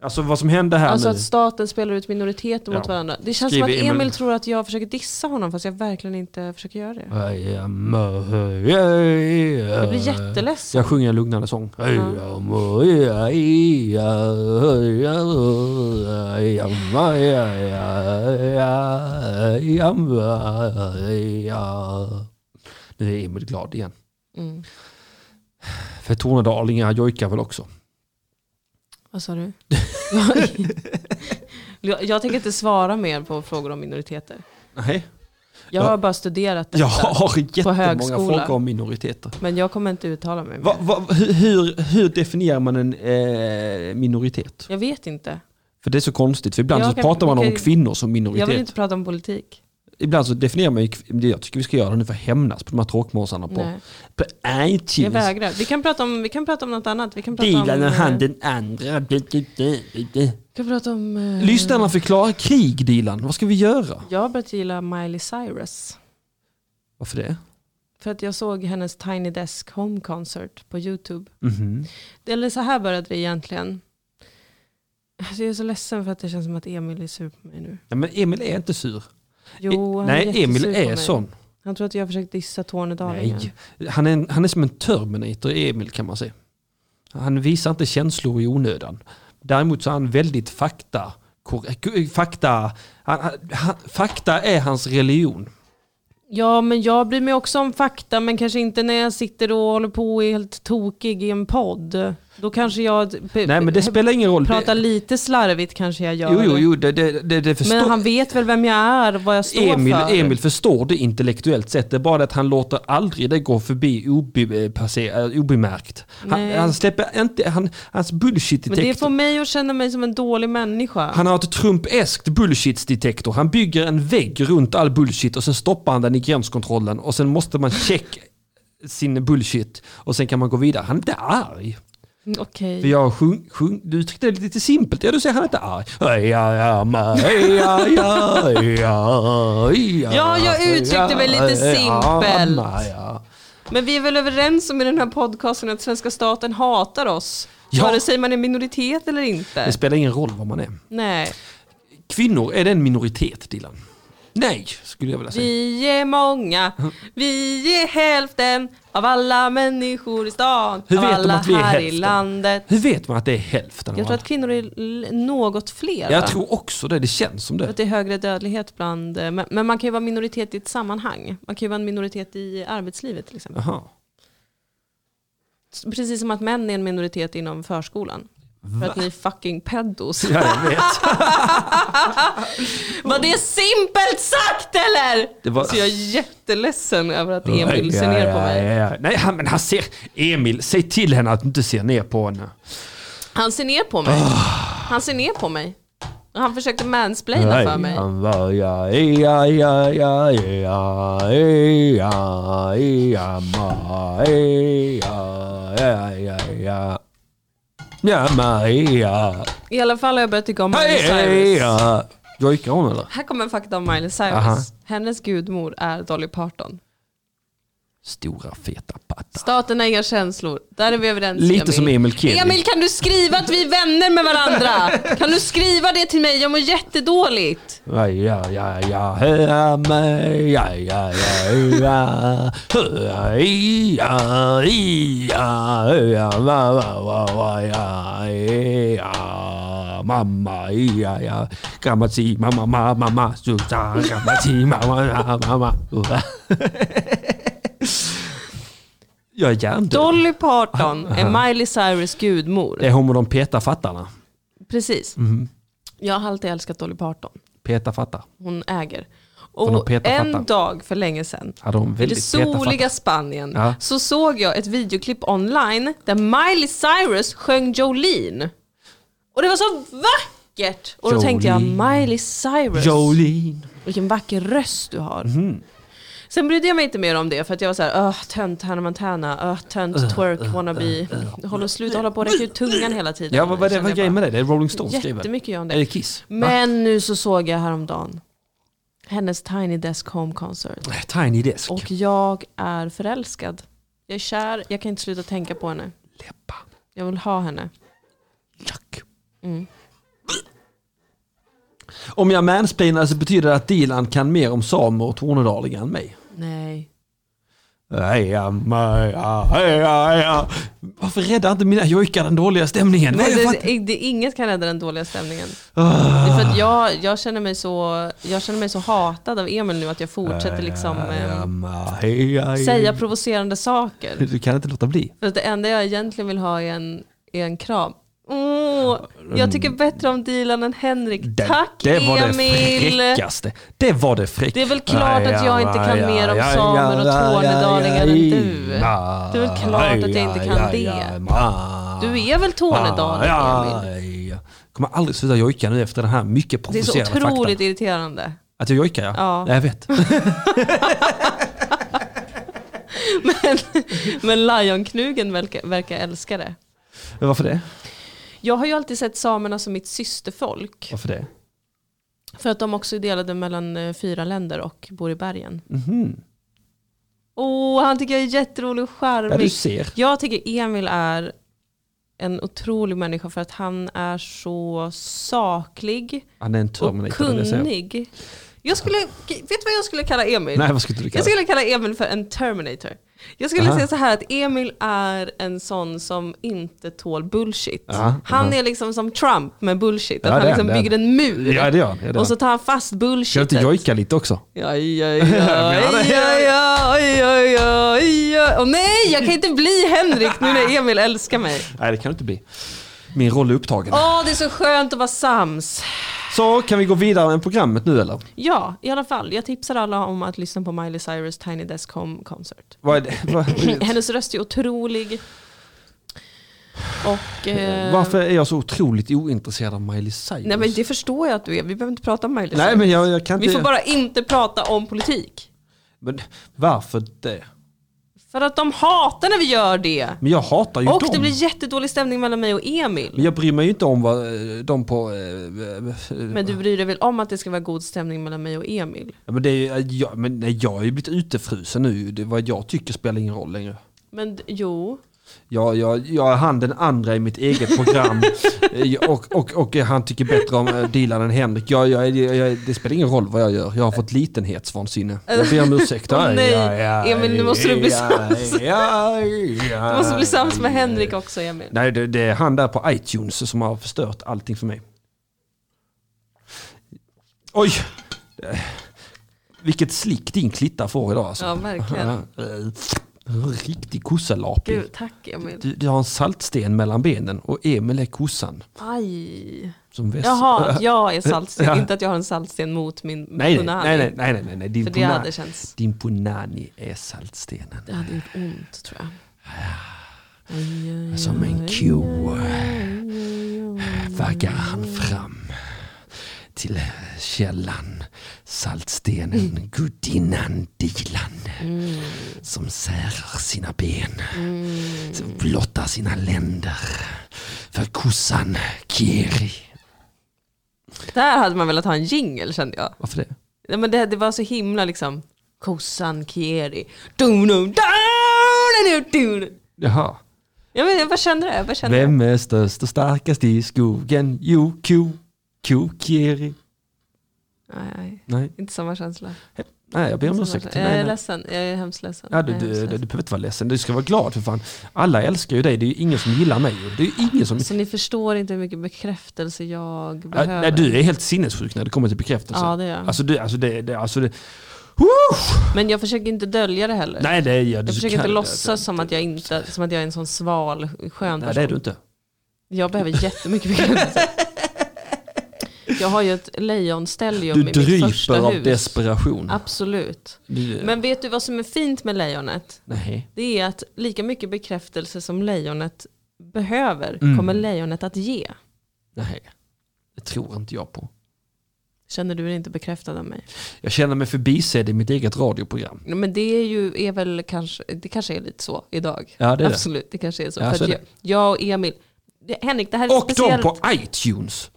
Alltså vad som hände här Alltså nu. att staten spelar ut minoriteter mot Ja. varandra. Det känns Skriver som att Emil Emil- tror att jag försöker dissa honom fast jag verkligen inte försöker göra det. I am a- Jag Jag blir jätteledsen. Jag sjunger en lugnande sång. I am a- I am a- I am a- Nu är Emil glad igen. Mm. För tornedalingar jojkar väl också? Vad sa du? Jag- jag, jag tänker inte svara mer på frågor om minoriteter. Nej. Jag Ja. har bara studerat detta. Jag har jättemånga högskola. frågor om minoriteter. Men jag kommer inte uttala mig. mer. Va, va, hur- hur, hur definierar man en eh, minoritet? Jag vet inte. För det är så konstigt, för ibland Jag så kan- pratar man vi om kan- kvinnor som Jag minoritet. vill inte prata om politik. Ibland så definierar man ju, kv- men det- jag tycker vi ska göra det nu för att hämnas på de här tråkmånsarna på Nej, på jag iTunes. vägrar. Vi kan prata om, vi kan prata om något annat. Vi kan prata om... Dealen och eh, han den andra. Bi- bi- bi- bi- bi. Vi kan prata om... eh, Lyssnarna förklarar krig Dilan, vad ska vi göra? Jag har börjat gilla Miley Cyrus. Varför det? För att jag såg hennes Tiny Desk Home Concert på YouTube. Mhm. Eller så här började det egentligen. Alltså jag är så ledsen för att det känns som att Emil är sur på mig nu. Ja, men Emil är inte sur. E- Jo, han Nej, är Emil jättesur på är mig. sån. Han tror att jag har försökt dissa Tornedalingen. Nej. Han, är en, han är som en Terminator, Emil kan man säga. Han visar inte känslor i onödan. Däremot så är han väldigt fakta... korrek- Fakta, han, han- han, fakta är hans religion. Ja, men jag bryr mig också om fakta, men kanske inte när jag sitter och håller på och är helt tokig i en podd. Då kanske jag be- Nej men det spelar ingen roll. pratar det, lite slarvigt kanske jag gör. jo, jo, jo, det, det, det, det förstår... Men han vet väl vem jag är, vad jag står Emil, för. Emil förstår det intellektuellt sett, det är bara det att han låter aldrig det gå förbi obe, passe, eh, obemärkt. Han, Nej. han släpper inte, han, hans Men det får bullshit-detektor, mig att känna mig som en dålig människa. han har ett Trump-eskt bullshit-detektor. Han bygger en vägg runt all bullshit och sen stoppar han den i gränskontrollen och sen måste man checka sin bullshit och sen kan man gå vidare. Han är inte arg. Mm, Okej. För jag sjung, sjung, du uttryckte det lite simpelt. Ja, du säger han är inte arg. Ja, ja, ja, ja, ja, ja, Ja, jag uttryckte mig lite simpelt. Men vi är väl överens om i den här podcasten att svenska staten hatar oss? Ja. Vare sig man är minoritet eller Det inte. spelar ingen roll vad man är. Nej. Kvinnor, är det en minoritet Dilan? Nej, skulle jag vilja säga. Vi är många, Mm. vi är hälften av alla människor i stan, Hur av vet de alla att vi är här i hälften? landet. Hur vet man att det är hälften? Jag av tror alla? att kvinnor är l- något fler. va? jag tror också det, det känns som det. Att det är högre dödlighet bland, eh, men, men man kan ju vara minoritet i ett sammanhang. Man kan ju vara en minoritet i arbetslivet till exempel. Jaha. Precis som att män är en minoritet inom förskolan. För att ni är fucking pedos. Ja, jag vet. Var det simpelt sagt eller? Det var- Oh Så jag är jätteledsen över att Emil ser ner på Ja, mig. ja, ja. Eh, Nej, han, men han ser... Emil, säg till henne att du inte ser ner på henne. Han ser ner på Oh. mig. Han ser ner på mig. Han försökte mansplaina för mig. Han var ja, ja, ja, ja, ja, ja, ja, ma, ja, ja, ja, ja. Ja, Maria. I alla fall har jag börjat tycka om Miley Hej, Cyrus. ja. Jojkar hon eller? Här kommer en fakta om Miley Cyrus. Aha. Hennes gudmor är Dolly Parton. Stora feta patta. Staten har inga känslor. Där är vi överens Lite som Emil Kelly. Emil kan du skriva att vi är vänner med varandra? Kan du skriva det till mig? Jag mår jättedåligt. Ja, ja, ja, ja, ja, ja, ja, ja, ja, ja, ja, ja, va, va, va, va, ja, ja, mamma, ja, ja, gammal si, mamma, mamma, mamma, Susanne, gammal si, mamma, ja, mamma. Jag är hjärndöd. Dolly Parton är Miley Cyrus gudmor. Det är hon med de peta fattarna. Precis. Mm-hmm. Jag har alltid älskat Dolly Parton. Peta fattar. Hon äger. Hon har Och petat en fattar. dag för länge sedan Hade hon i det väldigt peta soliga fattar. Spanien Ja. så såg jag ett videoklipp online där Miley Cyrus sjöng Jolene. Och det var så vackert! Och då tänkte jag Jolene. Miley Cyrus, Jolene. vilken vacker röst du har. Mhm. Sen brydde jag mig inte mer om det för att jag var så här, öh tönt Hannah Montana, öh tönt twerk wannabe. Håll, sluta hålla på och räcka ut tungan hela tiden. Ja, vad var det Kände var jag grejen bara. med det? Det är Rolling Stones skriver. Jättemycket gör om Är det det. Kiss? Va? Men nu så såg jag häromdagen hennes Tiny Desk Home Concert. Tiny Desk. Och jag är förälskad. Jag är kär, jag kan inte sluta tänka på henne. Läppar. Jag vill ha henne. Jack. Mm. Om jag mansplainar så betyder det att Dilan kan mer om samer och tornedalingar än mig. Nej. Heja, maja, heja, heja. Varför räddar inte mina jojkar den dåliga stämningen? Vad är Nej det för det, att- det, det, inget kan rädda den dåliga stämningen. Det Ah. är för att jag, jag, känner mig så, jag känner mig så hatad av Emil nu att jag fortsätter liksom Heja, ehm, maja, heja, heja. säga provocerande saker. Du kan inte låta bli. För att det enda jag egentligen vill ha är en, är en kram. Åh, jag tycker bättre om Dilan än Henrik. mm. Det, Tack det var Emil! det fräckaste. Det var det fräckaste. Det är väl klart att jag inte kan mer om samer och tornedalingar än du. Det är väl klart att jag inte kan det. Du är väl Ah, tornedaling Emil? Emil? Jag kommer aldrig sluta jojka nu efter den här mycket Det är så provocerande otroligt faktan. irriterande. Att jag jojkar ja. Ja. Jag vet. Men, men Lejonknugen verkar, verkar älska det. Men varför det? Jag har ju alltid sett samerna som mitt systerfolk. Varför det? För att de också är delade mellan eh, fyra länder och bor i bergen. Mhm. Åh, han tycker jag är jätterolig och Ja, du charmig. ser. Jag tycker Emil är en otrolig människa för att han är så saklig Han är en och Terminator. det ser jag. kunnig. Jag skulle, vet du vad jag skulle kalla Emil? Nej, vad skulle du kalla Jag det? skulle kalla Emil för en Terminator. Jag skulle Aha. säga så här att Emil är en sån som inte tål bullshit. Ja, han aha. är liksom som Trump med bullshit. Att Ja, han det är liksom han, det är bygger en mur. Ja det gör han. Ja, det gör och så han. tar han fast Ska jag bullshitet. inte jojka lite också? Aj, aj, aj, aj, aj, aj, aj, aj, aj, jag, åh nej, jag kan inte bli Henrik nu när Emil älskar mig. Nej, det kan det inte bli. Min roll är upptagen. Åh, det är så skönt att vara sams. Så, kan vi gå vidare med programmet nu eller? Ja, i alla fall. Jag tipsar alla om att lyssna på Miley Cyrus Tiny Desk Home Concert. Vad är det? vad- Hennes röst är otrolig. Och... Eh, Varför är jag så otroligt ointresserad av Miley Cyrus? Nej men det förstår jag att du är. Vi behöver inte prata om Miley Cyrus. Nej, men jag, jag kan inte... Vi får bara inte prata om politik. men, varför det? För att de hatar när vi gör det. Men jag hatar ju Och dem. det blir jättedålig stämning mellan mig och Emil. Men jag bryr mig ju inte om vad eh, de på... eh, eh, eh, Men du bryr dig väl om att det ska vara god stämning mellan mig och Emil? Ja, Men, det är, ju- eh, jag, men nej, jag har ju blivit utefrusen nu. Det, vad jag tycker spelar ingen roll längre. Men d- jo. Jag, jag, jag är han den andra i mitt eget program Eh, och, och, och han tycker bättre om eh, Dilan än Henrik. Jag, jag, jag, jag, det spelar ingen roll vad jag gör. Jag har fått litenhetsvansinne. Jag ber om ursäkt. Åh, nej. Emil, nu måste du bli sams. Du Du måste bli sams med Henrik också Emil. Nej, det, det är han där på iTunes som har förstört allting för mig. Oj! Eh, Vilket slick din klitta får idag alltså. Ja verkligen. Eh, Riktig kossalaping. Gud, tack Emil. Du, du har en saltsten mellan benen och Emil är kossan. Aj. Som väss. Jaha, att jag är Ja. saltsten. Inte att jag har en saltsten mot min nej, nej, punani. nej, nej, nej, nej, nej, din, För det hade punani, känts... din punani är saltstenen. Det hade gjort ont tror jag. Aj, aj, aj. Som en ko vaggar han fram till källan, saltstenen, gudinnan Dilan som särar sina ben, som blottar sina länder för kossan Kiri. Där hade man velat ha en jingle kände jag. Varför det? Nej, men det, det var så himla liksom. Kossan Kieri. Dun, dun, dun, dun, dun. Jaha. Ja, men jag bara kände det. Jag bara kände det. Vem är störst och starkast i skogen? Jo, ko, ko Kiri. Nej, nej, Nej, inte samma känsla. nej jag ber om Samma ursäkt. känsla. Nej, Alltså, Jag är nej. ledsen. Jag är hemskt ledsen. Ja, du, Jag är du, hemskt du, du ledsen. behöver inte vara ledsen, du ska vara glad för fan. Alla älskar ju dig, det är ju ingen som gillar mig. Det är ju ingen som... Så ni förstår inte hur mycket bekräftelse Alltså, jag Ja, behöver. nej, du är helt sinnessjuk när det kommer till bekräftelse. Ja, det är jag. Alltså, du, alltså det... det, alltså, det Woo! Men jag försöker inte dölja det heller. Nej, det är jag. jag försöker inte låtsas som att, jag inte, som att jag är en sån sval, skön Nej, person. det är du inte. Jag behöver jättemycket bekräftelse. jag har ju ett lejonstellium Du i mitt första dryper av hus. desperation. Absolut. Du, Men vet du vad som är fint med lejonet? nej. Det är att lika mycket bekräftelse som lejonet behöver Mm. kommer lejonet att ge. Nej. Det tror inte jag på. Känner du dig inte bekräftad av mig? Jag känner mig förbisedd i mitt eget radioprogram. Nej, Men det är ju är väl kanske, det kanske är lite så idag. Ja, det är det. Absolut, det kanske är så. Ja, För så är att det. jag, jag och Emil, det, Henrik det här är Och de speciellt. på iTunes.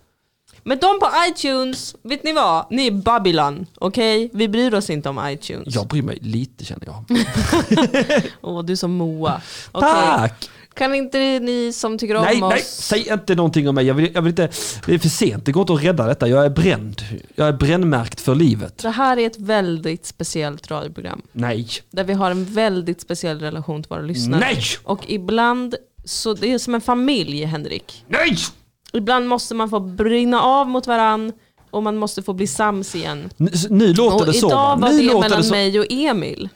Men de på iTunes, vet ni vad? Ni är Babylon, okej? Vi bryr oss inte om iTunes. Jag bryr mig lite känner jag. Åh, du är som Moa. Okej. Tack! Kan inte ni som tycker om Nej, oss... nej, säg inte någonting om mig. Jag vill, jag vill inte, det är för sent, det går inte att rädda detta. Jag är bränd. Jag är brännmärkt för livet. Det här är ett väldigt speciellt radioprogram. Nej. Där vi har en väldigt speciell relation till våra lyssnare. Nej! Och ibland, så det är som en familj Henrik. Nej! Ibland måste man få brinna av mot varann och man måste få bli sams igen. Nu, nu låter Och det så va? idag var nu det låter det mellan så. mig och Emil.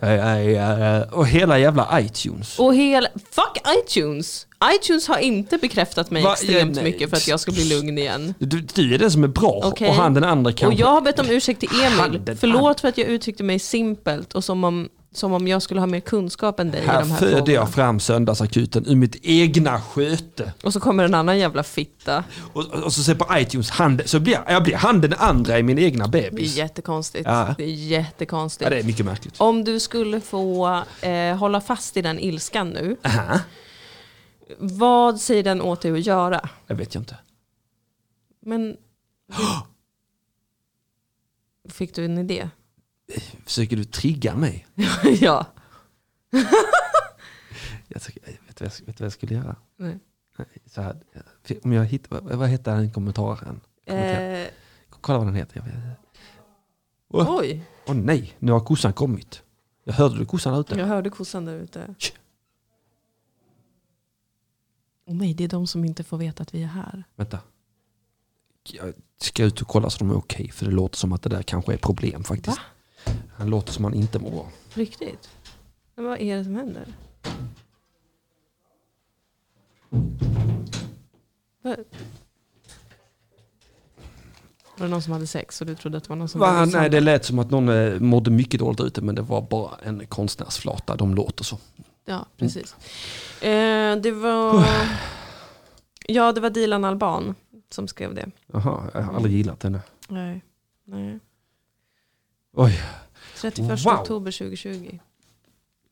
Aj, aj, aj, Och hela jävla iTunes. Och hela, fuck iTunes! iTunes har inte bekräftat mig Va? extremt Ja, nej. mycket för att jag ska bli lugn igen. Du, du är den som är bra Okej. och han den andra kanske. Och jag har bett om ursäkt till Handen, Emil. handen. Förlåt för att jag uttryckte mig simpelt och som om, som om jag skulle ha mer kunskap än dig i Här de här frågorna. födde jag fram söndagsakuten ur mitt egna sköte. Och så kommer en annan jävla fitta. Och, och så ser jag på iTunes, han, så blir jag, jag blir han den andra i min egna Det är bebis. jättekonstigt. Ja. Det är jättekonstigt. Ja, det är mycket märkligt. Om du skulle få eh, hålla fast i den ilskan nu, Aha, vad säger den åt dig att göra? det vet jag inte. Men... Fick du en idé? Försöker du trigga mig? ja. Jag tycker, vet, du vad jag, vet du vad jag skulle göra? Nej. Nej, Så här, eh, om jag hittar, vad, vad heter den kommentaren? Kommentar. Eh, Kolla vad den heter. Jag vet- oj, Åh nej, nu har kossan kommit. Jag hörde du kossan där ute? jag hörde kossan där ute. Tsch. Åh nej, det är de som inte får veta att vi är här. Vänta. Jag ska ut och kolla så de är okej, för det låter som att det där kanske är problem faktiskt. Va? Han låter som han inte mår bra. På riktigt? Men vad är det som händer? Vad- Var det någon som hade sex och du trodde att det var någon som Va, hade nej, det lät som att någon eh, mådde mycket dåligt ute men det var bara en konstnärsflata. De låter så. Ja, precis. Eh, det var... Ja, det var Dilan Alban som skrev det. Jaha, jag har aldrig gillat henne. Nej. Nej. Oj, 31 Wow. oktober 2020.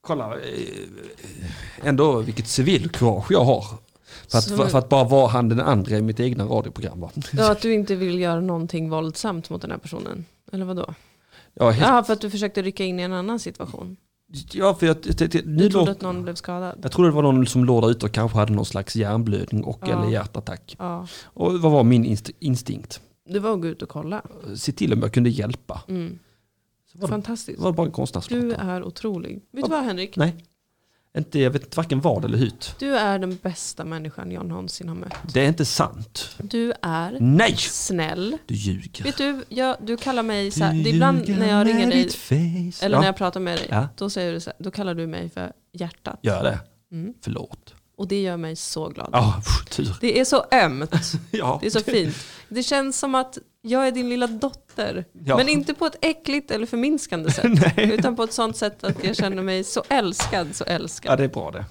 kolla. eh, Ändå vilket civilkurage jag har. För att, Så- för, för att bara vara han den andra i mitt egna radioprogram. Va? Ja, att du inte vill göra någonting våldsamt mot den här personen. Eller vadå? Jag är helt, Ja, för att du försökte rycka in i en annan situation. ja, för jag, jag, jag, jag, Du nu trodde låt, att någon blev skadad. jag trodde det var någon som låg där ute och kanske hade någon slags hjärnblödning och Ja. eller hjärtattack. Ja. Och vad var min inst, instinkt? Det var att gå ut och kolla. Se till om jag kunde hjälpa. Mm. Så var, det, Fantastiskt. var det bara en Du konstnärsflata. är otrolig. Vet du vad Henrik? Nej. Inte, jag vet varken vad eller hut. Du är den bästa människan jag någonsin har mött. Det är inte sant. Du är Nej! snäll. Du ljuger. Vet du, jag, du kallar mig så här, det är ibland när jag ringer dig face. eller ja, när jag pratar med dig, Ja. då, säger du så här, då kallar du mig för hjärtat. Gör det. Mm. Förlåt. Och det gör mig så glad. Ja, pff, tur. Det är så ömt. Ja. Det är så fint. Det känns som att jag är din lilla dotter. Ja. Men inte på ett äckligt eller förminskande sätt. Utan på ett sånt sätt att jag känner mig så älskad, så älskad. Ja, det är bra det.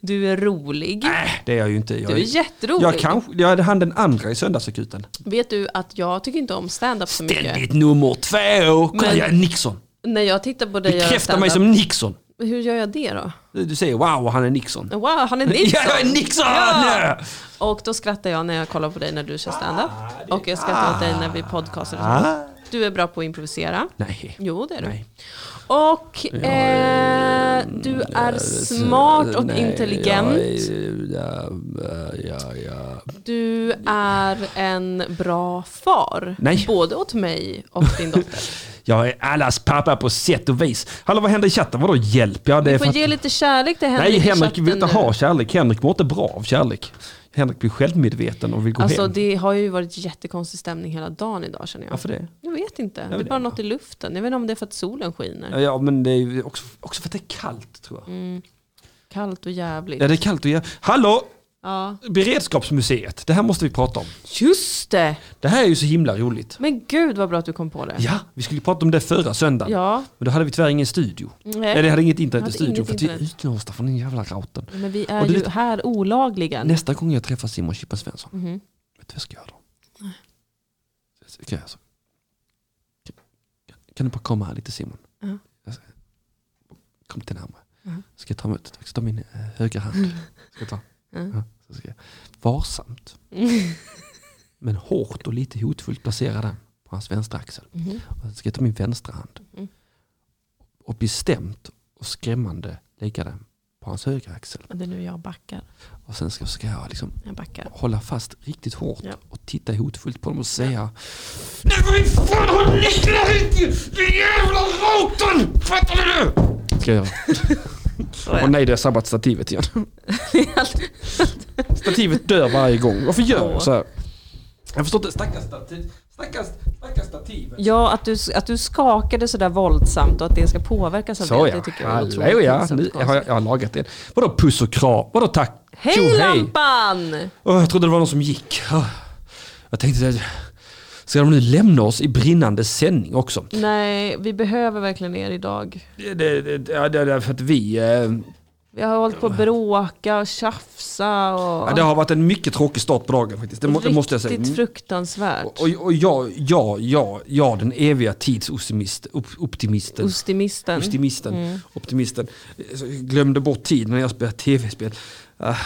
Du är rolig. Äh, det är jag ju inte. Jag, Du är jätterolig. jag kanske, jag hade han den andra i söndagsakuten. Vet du att jag tycker inte om stand-up så mycket. Ständigt nummer två. Kolla, Men- jag är Nixon. När jag tittar på dig göra Bekräfta mig stand-up, som Nixon. Hur gör jag det då? Du du säger wow, han är Nixon. Wow, han är Nixon! Ja, jag är Nixon! Ja! Och då skrattar jag när jag kollar på dig när du kör stand-up. Och jag skrattar åt dig när vi podcastar. och sånt. Ah. Du är bra på att improvisera. Nej. Jo, det är du. Nej. Och eh, du är smart och Nej, intelligent. Jag, är- ja, ja, ja. Du är en bra far. Nej. Både åt mig och din dotter. jag är allas pappa på sätt och vis. Hallå vad händer i chatten? Vadå hjälp? Ja, det är Du för får att... ge lite kärlek till Henrik Nej i Henrik vill chatten inte nu. ha kärlek. Henrik mår inte bra av kärlek. Henrik blir självmedveten och vill gå Alltså hem. det har ju varit jättekonstig stämning hela dagen idag känner jag. Varför det? Jag vet inte. det är vet bara det. något i luften. Jag vet inte om det är för att solen skiner. Ja, Ja men det är ju också, också för att det är kallt tror Mm. jag. Kallt och jävligt. Ja det är kallt och jag... Hallå! Ja. Beredskapsmuseet. Det här måste vi prata om. Just det! Det här är ju så himla roligt. Men gud vad bra att du kom på det. Ja, vi skulle ju prata om det förra söndagen. Ja, Men då hade vi tyvärr ingen studio. Nej. Eller hade inget internet Hade i studion inget för att vi är internet. utlåsta från den jävla routern. men vi är Och du ju vet- här olagligen. Mhm. Nästa gång jag träffar Simon Chippen Svensson, vet du vad jag ska göra då? Så Kan, jag, så, kan, kan du bara komma här lite Simon? Ja. Jag ska- Kom lite närmare. Ska jag ta, med- jag ska ta min eh, högra hand? Ska jag ta? Ja, så ska jag. Varsamt. Men hårt och lite hotfullt placera den på hans vänstra axel. Och sen ska jag ta min vänstra hand och bestämt och skrämmande lägga den på hans högra axel. Det är nu jag backar. Och sen ska, ska jag liksom Jag backar. hålla fast riktigt hårt Ja. och titta hotfullt på dem och säga Nej men fan håll nycklar i den jävla routern! Fattar du? Ska jag göra. Och nej, det har sabbat stativet igen. stativet dör varje gång. Varför gör jag så här? Jag förstår inte. Stackars stativ. Stackars, stackars stativet. Ja, att du, att du skakade sådär våldsamt och att det ska påverkas av Så det, ja. det tycker jag är otroligt Hallå ja. pinsamt Nu och har jag, jag har lagat en. Vadå puss och kram? Vadå tack? Hej Tjo, lampan! Åh, jag trodde det var någon som gick. Åh. Jag tänkte, att- ska de nu lämna oss i brinnande sändning också? Nej, vi behöver verkligen er idag. Det, det, det, ja, det, det, för att vi... Eh, Vi har hållit på att bråka och tjafsa och... Ja, det har varit en mycket tråkig start på dagen faktiskt. Det, må, det måste jag säga. Mm. Riktigt fruktansvärt. Och, och jag, jag, jag, jag den eviga tidsoptimisten. Op, optimisten. Ostimisten. optimisten. Mm. optimisten. Så jag glömde bort tid när jag spelade tv-spel. Ah,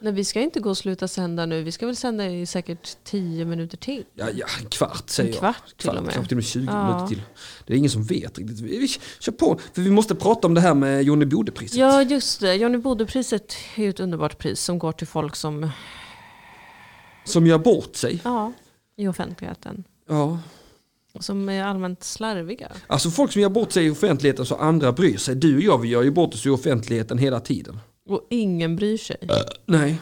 Nej, vi ska inte gå och sluta sända nu. Vi ska väl sända i säkert tio minuter till. Ja, ja, en kvart säger En kvart jag. till och med. Kanske till och med 20 Ja. minuter till. Det är ingen som vet riktigt. Vi, vi kör på. För vi måste prata om det här med Johnny Bode-priset. Ja, just det. Johnny Bode-priset är ju ett underbart pris som går till folk som Som gör bort sig. ja, i offentligheten. Ja. Som är allmänt slarviga. Alltså folk som gör bort sig i offentligheten så andra bryr sig. Du och jag vi gör ju bort oss i offentligheten hela tiden. Och ingen bryr sig. Äh. Nej.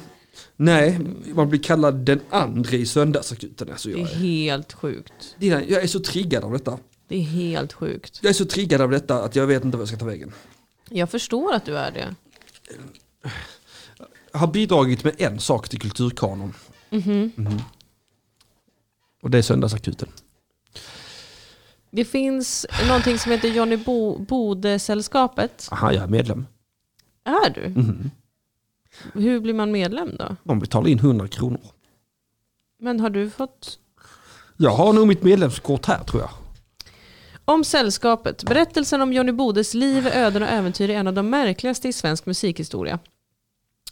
Nej, man blir kallad den andra i söndagsakuten. Alltså Det jag, är är, helt sjukt. Dina, jag är så triggad av detta. Det är helt sjukt. Jag är så triggad av detta att jag vet inte vad jag ska ta vägen. Jag förstår att du är det. Har bidragit med en sak till kulturkanon. Mhm. Och det är Söndagsakuten. Det finns någonting som heter Johnny Bo- Bode-sällskapet. Aha, jag är medlem. Är du? Mhm. Hur blir man medlem då? Man betalar in 100 kronor. Men har du fått... Jag har nog mitt medlemskort här tror jag. Om Sällskapet. Berättelsen om Johnny Bodes liv, öden och äventyr är en av de märkligaste i svensk musikhistoria.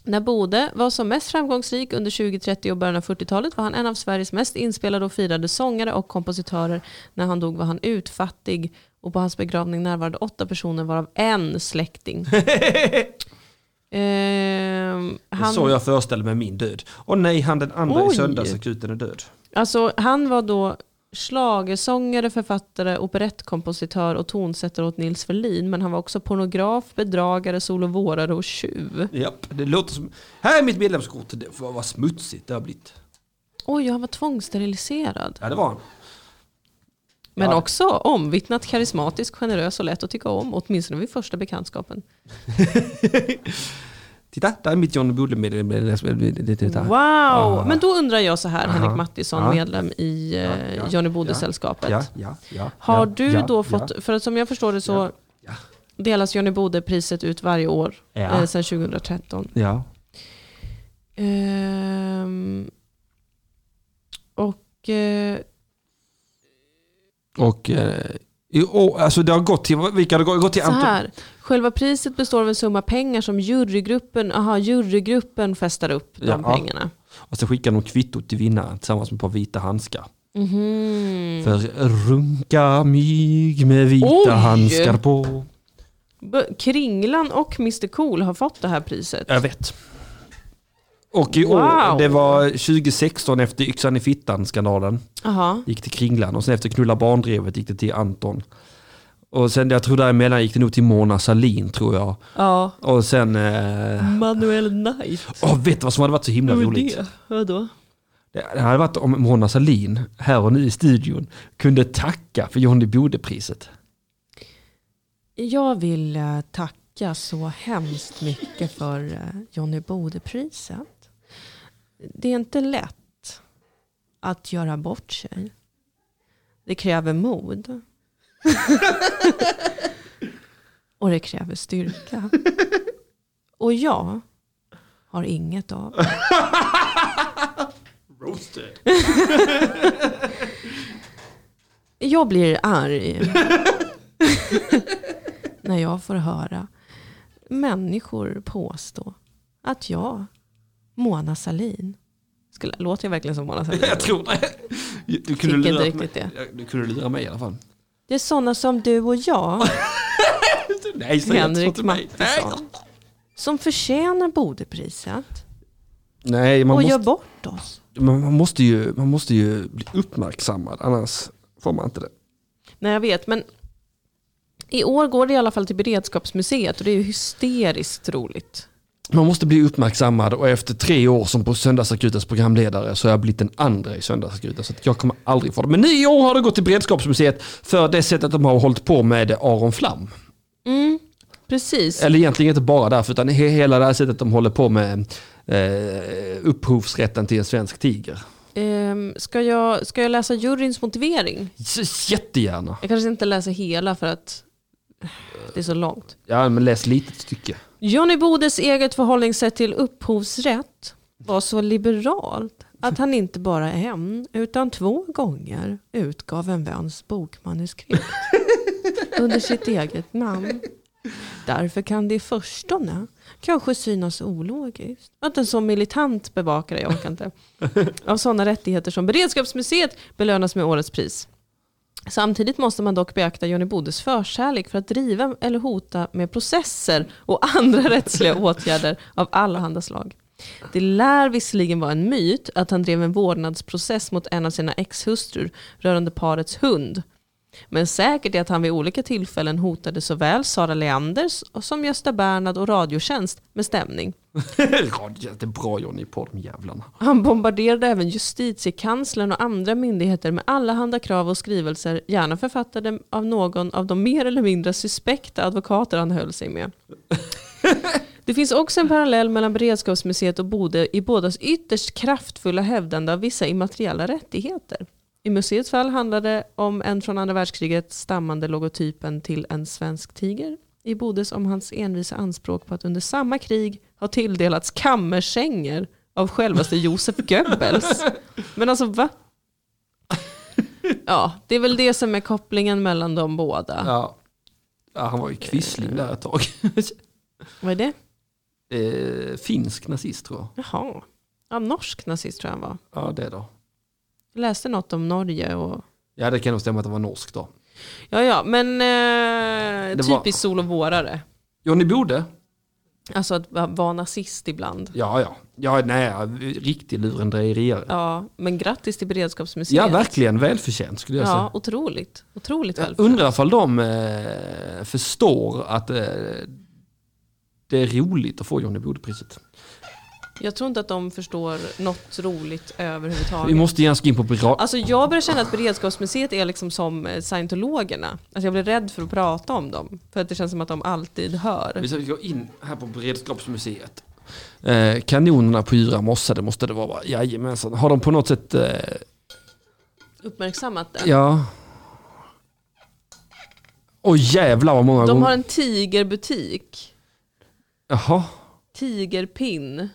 När Bode var som mest framgångsrik under 20-, 30 och början av 40-talet var han en av Sveriges mest inspelade och firade sångare och kompositörer. När han dog var han utfattig och på hans begravning närvarade åtta personer varav en släkting. Ehm, Det är han, så jag föreställer mig min död. Och nej, han den andra Oj. i Söndagsakuten är död. alltså, han var då schlagersångare, författare, operettkompositör och tonsättare åt Nils Ferlin. Men han var också pornograf, bedragare, solovårare och tjuv. Japp, det låter som... Här är mitt medlemskort. Det får vara smutsigt det har blivit. Oj, han var tvångssteriliserad. Ja, det var han. Men Ja. också omvittnat karismatisk, generös och lätt att tycka om. Åtminstone vid första bekantskapen. Titta, där är mitt John Bodle-medlemskort. Wow! Men då undrar jag så här, Henrik Mattisson, Ja. medlem i eh, ja, Johnny ja, Bode-sällskapet. Ja, ja, ja, Har ja, du ja, då ja. fått, för att som jag förstår det så Ja. Ja. delas Johnny Bode-priset ut varje år Ja. eh, sedan 2013. Ja. Ehm, och eh, Och... Eh, i- och, alltså det har gått till... Vilka har det gått- gått till? så Anton- här, själva priset består av en summa pengar som jurygruppen, aha, jurygruppen fästar upp de Ja. pengarna. Och så skickar de kvittot till vinnaren tillsammans med ett par vita handskar. Mhm. För runka mig med vita Oj! handskar på. B- Kringlan och Mr Cool har fått det här priset. Jag vet. Och i Wow. år, det var 2016 efter yxan i fittan-skandalen, Aha. gick till Kringlan och sen efter knulla barndrevet gick det till Anton. Och sen jag tror däremellan gick det nog till Mona Salin tror jag. Ja. Och sen, eh, Manuel Knight. åh, vet du vad som hade varit så himla Vem är roligt? det? Vadå? Det det hade varit om Mona Salin här och nu i studion, kunde tacka för Johnny Bode-priset. Jag vill eh, tacka så hemskt mycket för eh, Johnny Bode-priset. Det är inte lätt att göra bort sig. Det kräver mod. Och det kräver styrka. Och jag har inget av det. Jag blir arg när jag får höra människor påstå att jag, Mona Salin, skulle, låter jag verkligen som Mona Salin? Jag tror det. Du Tycker kunde, inte lura mig. riktigt det. du kunde lura mig i alla fall. Det är sådana som du och jag, Nej, säg inte så Henrik till mig. Mattisson, som förtjänar Bodepriset Nej, och man gör måste, bort oss. man, man, måste ju, man måste ju bli uppmärksammad, annars får man inte det. Nej jag vet, men i år går det i alla fall till Beredskapsmuseet och det är ju hysteriskt roligt. Man måste bli uppmärksamad och efter tre år som på Söndagsakutens programledare så har jag blivit den andra i Söndagsakuten. Så att jag kommer aldrig få det. Men nio år har det gått till Beredskapsmuseet för det sättet de har hållit på med Aron Flam. Mm, Precis. Eller egentligen inte bara därför utan he- hela det här sättet de håller på med eh, upphovsrätten till en svensk tiger. Ehm, ska, jag, ska jag läsa juryns motivering? S- Jättegärna. Jag kanske inte läser hela för att det är så långt. Ja, men läs litet stycke. Johnny Bodes eget förhållningssätt till upphovsrätt var så liberalt att han inte bara en utan två gånger utgav en väns bokmanuskript under sitt eget namn. Därför kan det i förstone kanske synas ologiskt att en så militant bevakare, jag orkar inte, av sådana rättigheter som Beredskapsmuseet belönas med årets pris. Samtidigt måste man dock beakta Johnny Bodes förkärlek för att driva eller hota med processer och andra rättsliga åtgärder av allehanda slag. Det lär visserligen vara en myt att han drev en vårdnadsprocess mot en av sina exhustrur rörande parets hund. Men säkert är att han vid olika tillfällen hotade såväl Sara Leander som Gösta Bernhard och Radiotjänst med stämning. det är bra Johnny på de jävlarna. Han bombarderade även justitiekanslern och andra myndigheter med allehanda krav och skrivelser, gärna författade av någon av de mer eller mindre suspekta advokater han höll sig med. Det finns också en parallell mellan Beredskapsmuseet och Bode i bådas ytterst kraftfulla hävdande av vissa immateriella rättigheter. I museets fall handlar det om en från andra världskriget stammande logotypen till en svensk tiger. I Bodes om hans envisa anspråk på att under samma krig ha tilldelats kammarsänger av självaste Josef Goebbels. Men alltså va? Ja, det är väl det som är kopplingen mellan de båda. Ja. Ja, han var ju kvissling där ett tag. Vad är det? eh, finsk nazist tror jag. Jaha. Ja, norsk nazist tror jag han var. Ja, det då. Jag läste något om Norge och Ja, det kan nog stämma att det var norsk då. Ja, ja, men eh, Det var- typiskt sol och vårare. Johnny Bode? Alltså att va- vara nazist ibland. Ja, ja. Ja, nej, riktig lurendrejeriare. Ja, Ja, men grattis till Beredskapsmuseet. verkligen välförtjänt skulle jag Ja, säga. otroligt. Otroligt väl. Undrar ifall de eh, förstår att eh, det är roligt att få Johnny Bode-priset. Jag tror inte att de förstår något roligt Vi överhuvudtaget. måste gärna gå in på bra... Alltså jag börjar känna att Beredskapsmuseet är liksom som eh, scientologerna. Alltså jag blir rädd för att prata om dem. För att det känns som att de alltid hör. Vi ska gå in här på Beredskapsmuseet. Eh, kanonerna på Yra mossa, det måste det vara va? Jajamensan. Har de på något sätt... Eh, Uppmärksammat det. ja... Åh jävlar vad många De gånger... har en tigerbutik. Jaha. Tigerpinn.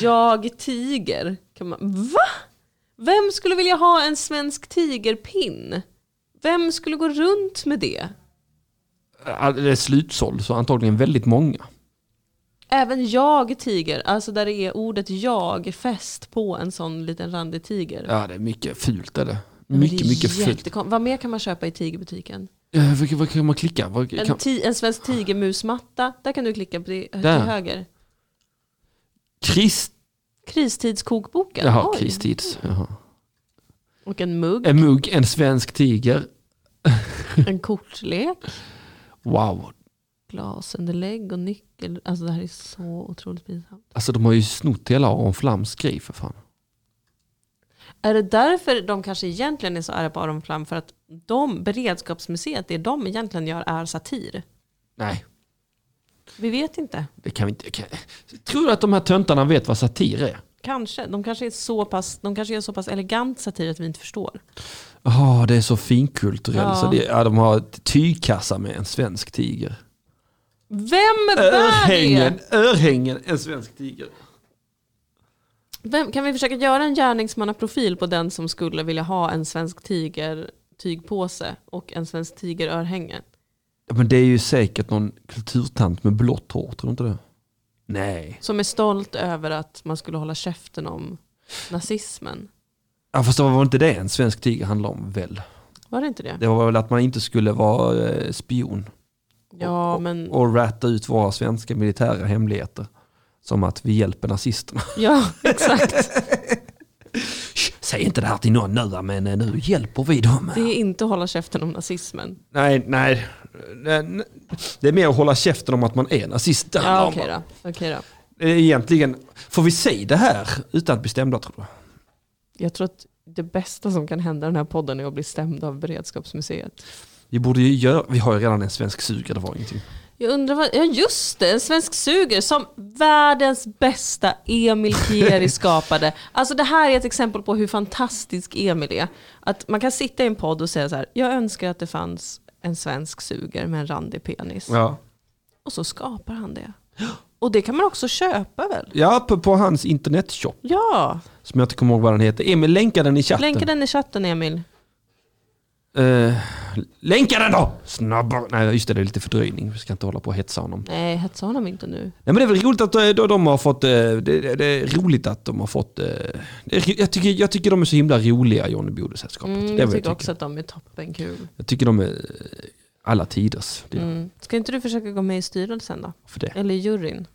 jag tiger. Kan man... Va? Vem skulle vilja ha en svensk tigerpinn? Vem skulle gå runt med det? Ja, Det är slutsåld så antagligen väldigt många. Även jag tiger, alltså där det är ordet jag fäst på en sån liten randig tiger. Ja det är mycket fult är det. Men Mycket, det är mycket fult. jättekom- Vad mer kan man köpa i tigerbutiken? Eh, Vad vad kan man klicka? Vad En, kan... ti- en svensk tigermusmatta, där kan du klicka på det, till Där. höger. Krist... Kristidskokboken, Jaha, Oj. kristids. Jaha. Och en mugg, En mugg, en svensk tiger. en kortlek. Wow. glasunderlägg och nyckel. Alltså det här är så otroligt pinsamt. Alltså de har ju snott hela Aron Flams grej för fan. Är det därför de kanske egentligen är så arga på Aron Flam? För att de, beredskapsmuseet, det de egentligen gör är satir. Nej, Vi vet inte. det kan vi inte. Kan... Tror du att de här töntarna vet vad satir är? Kanske. De kanske är så pass, de kanske är så pass elegant satir att vi inte förstår. Ja, det är så finkulturellt. Ja. Så det, ja, de har ett tygkassa med en svensk tiger. Vem bär Örhängen, det? örhängen, en svensk tiger. Vem, kan vi försöka göra en gärningsmannaprofil på den som skulle vilja ha en svensk tiger tygpåse och en svensk tigerörhänge? Ja, men det är ju säkert någon kulturtant med blått hår, tror du inte det? Nej. Som är stolt över att man skulle hålla käften om nazismen. Ja, fast det var väl inte det en svensk tiger handlade om väl? Var det inte det? Det var väl att man inte skulle vara eh, spion Ja, men, och ratta ut våra svenska militära hemligheter. Som att vi hjälper nazisterna. ja exakt. Shh, Säg inte det här till någon nu, men eh, nu hjälper vi dem. Det är inte att hålla käften om nazismen. Nej, nej. Det är mer att hålla käften om att man är nazist. Det handlar Ja, om. okej då. Okej då. Det är Egentligen, får vi säga det här utan att bli stämda tror du? Jag tror att det bästa som kan hända i den här podden är att bli stämd av Beredskapsmuseet. Vi borde ju göra, vi har ju redan en svensk suga, det var ingenting. Jag undrar vad, ja just det, en svensk suger som världens bästa Emil Kieri skapade. Alltså det här är ett exempel på hur fantastisk Emil är. Att man kan sitta i en podd och säga så här, jag önskar att det fanns en svensk suger med en randig penis. Ja, Och så skapar han det. Och det kan man också köpa väl? ja på, på hans internetshop, Ja, som jag inte kommer ihåg vad den heter. Emil, länka den i chatten. länka den i chatten Emil. Eh, länka den då! Snabbare! Nej, just det, det är lite fördröjning. Vi ska inte hålla på och hetsa honom. Nej, hetsa honom inte nu. Nej, men det är väl roligt att eh, då de har fått, eh, det, det, det är roligt att de har fått, eh, det är ro- jag, tycker, jag tycker de är så himla roliga, Johnny Bode-sällskapet. Mm, Det är jag vad tycker också att de är toppenkul. Jag tycker de är eh, alla tiders. Det, Mm. Ska inte du försöka gå med i styrelsen då? För det. Eller i juryn?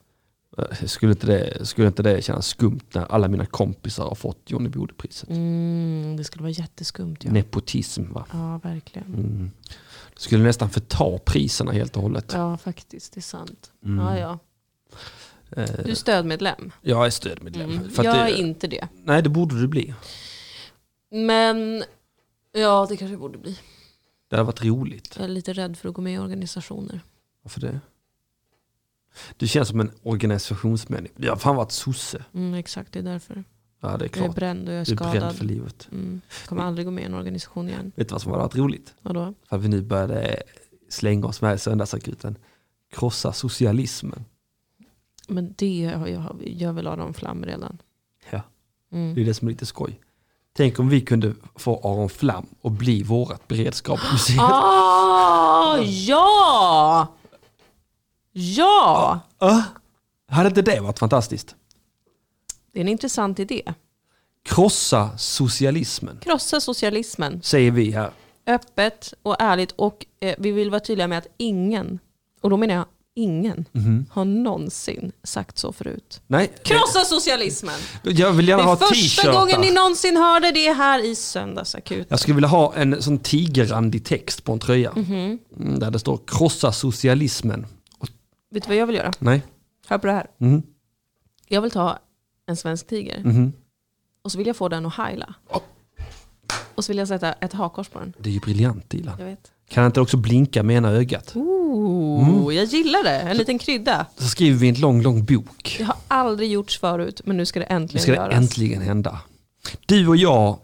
Eh, Skulle inte, det, skulle inte det kännas skumt när alla mina kompisar har fått Johnny Bode-priset? Mm, det skulle vara jätteskumt ja. Nepotism va? Ja, verkligen. Mm. Skulle nästan förta priserna helt och hållet. Ja, faktiskt. Det är sant. Mm. Ja, ja. Eh, Du är stödmedlem. Jag är stödmedlem. Mm. För Jag att det- är inte det. Nej, det borde du bli. Men ja, det kanske borde bli. Det hade varit roligt. Jag är lite rädd för att gå med i organisationer. Varför det? Du känns som en organisationsmänniska. Du har fan varit sosse. Mm, exakt, det är därför. Ja, det är Jag är klart. bränd och jag är Du är bränd för skadad. livet. Mm. Kommer aldrig gå med i en organisation igen. Vet du vad som hade varit roligt? Vadå? För att vi nu började slänga oss med i söndagsakuten. Krossa socialismen. Men det har jag, jag vill ha dem flam redan. Ja. Mm. Det är det som är lite skoj. Tänk om vi kunde få Aron Flam och bli vårt beredskapsmuseum. Ah, ja! Ja! Äh? Hade inte det varit fantastiskt? Det är en intressant idé. Krossa socialismen, Krossa socialismen. säger vi här. Öppet och ärligt. Och eh, vi vill vara tydliga med att ingen, och då menar jag ingen, har någonsin sagt så förut. Nej, Krossa socialismen! jag vill Det gärna ha är första gången ni t-shirtar. någonsin hör det, det är här i Söndagsakuten. Jag skulle vilja ha en sån tigerrandig text på en tröja. Mhm. Mm, Där det står krossa socialismen. Vet du vad jag vill göra? Nej. Hör på det här. Mm. Mhm. Jag vill ta en svensk tiger Mhm. och så vill jag få den att heila. Och så vill jag sätta ett hakkors på den. Det är ju briljant Dilan. Jag vet. Kan inte också blinka med ena ögat? Ooh, Jag gillar det, en liten krydda. Så skriver vi en lång, lång bok. Det har aldrig gjorts förut men nu ska det Nu äntligen ska det göras. äntligen hända. Du och jag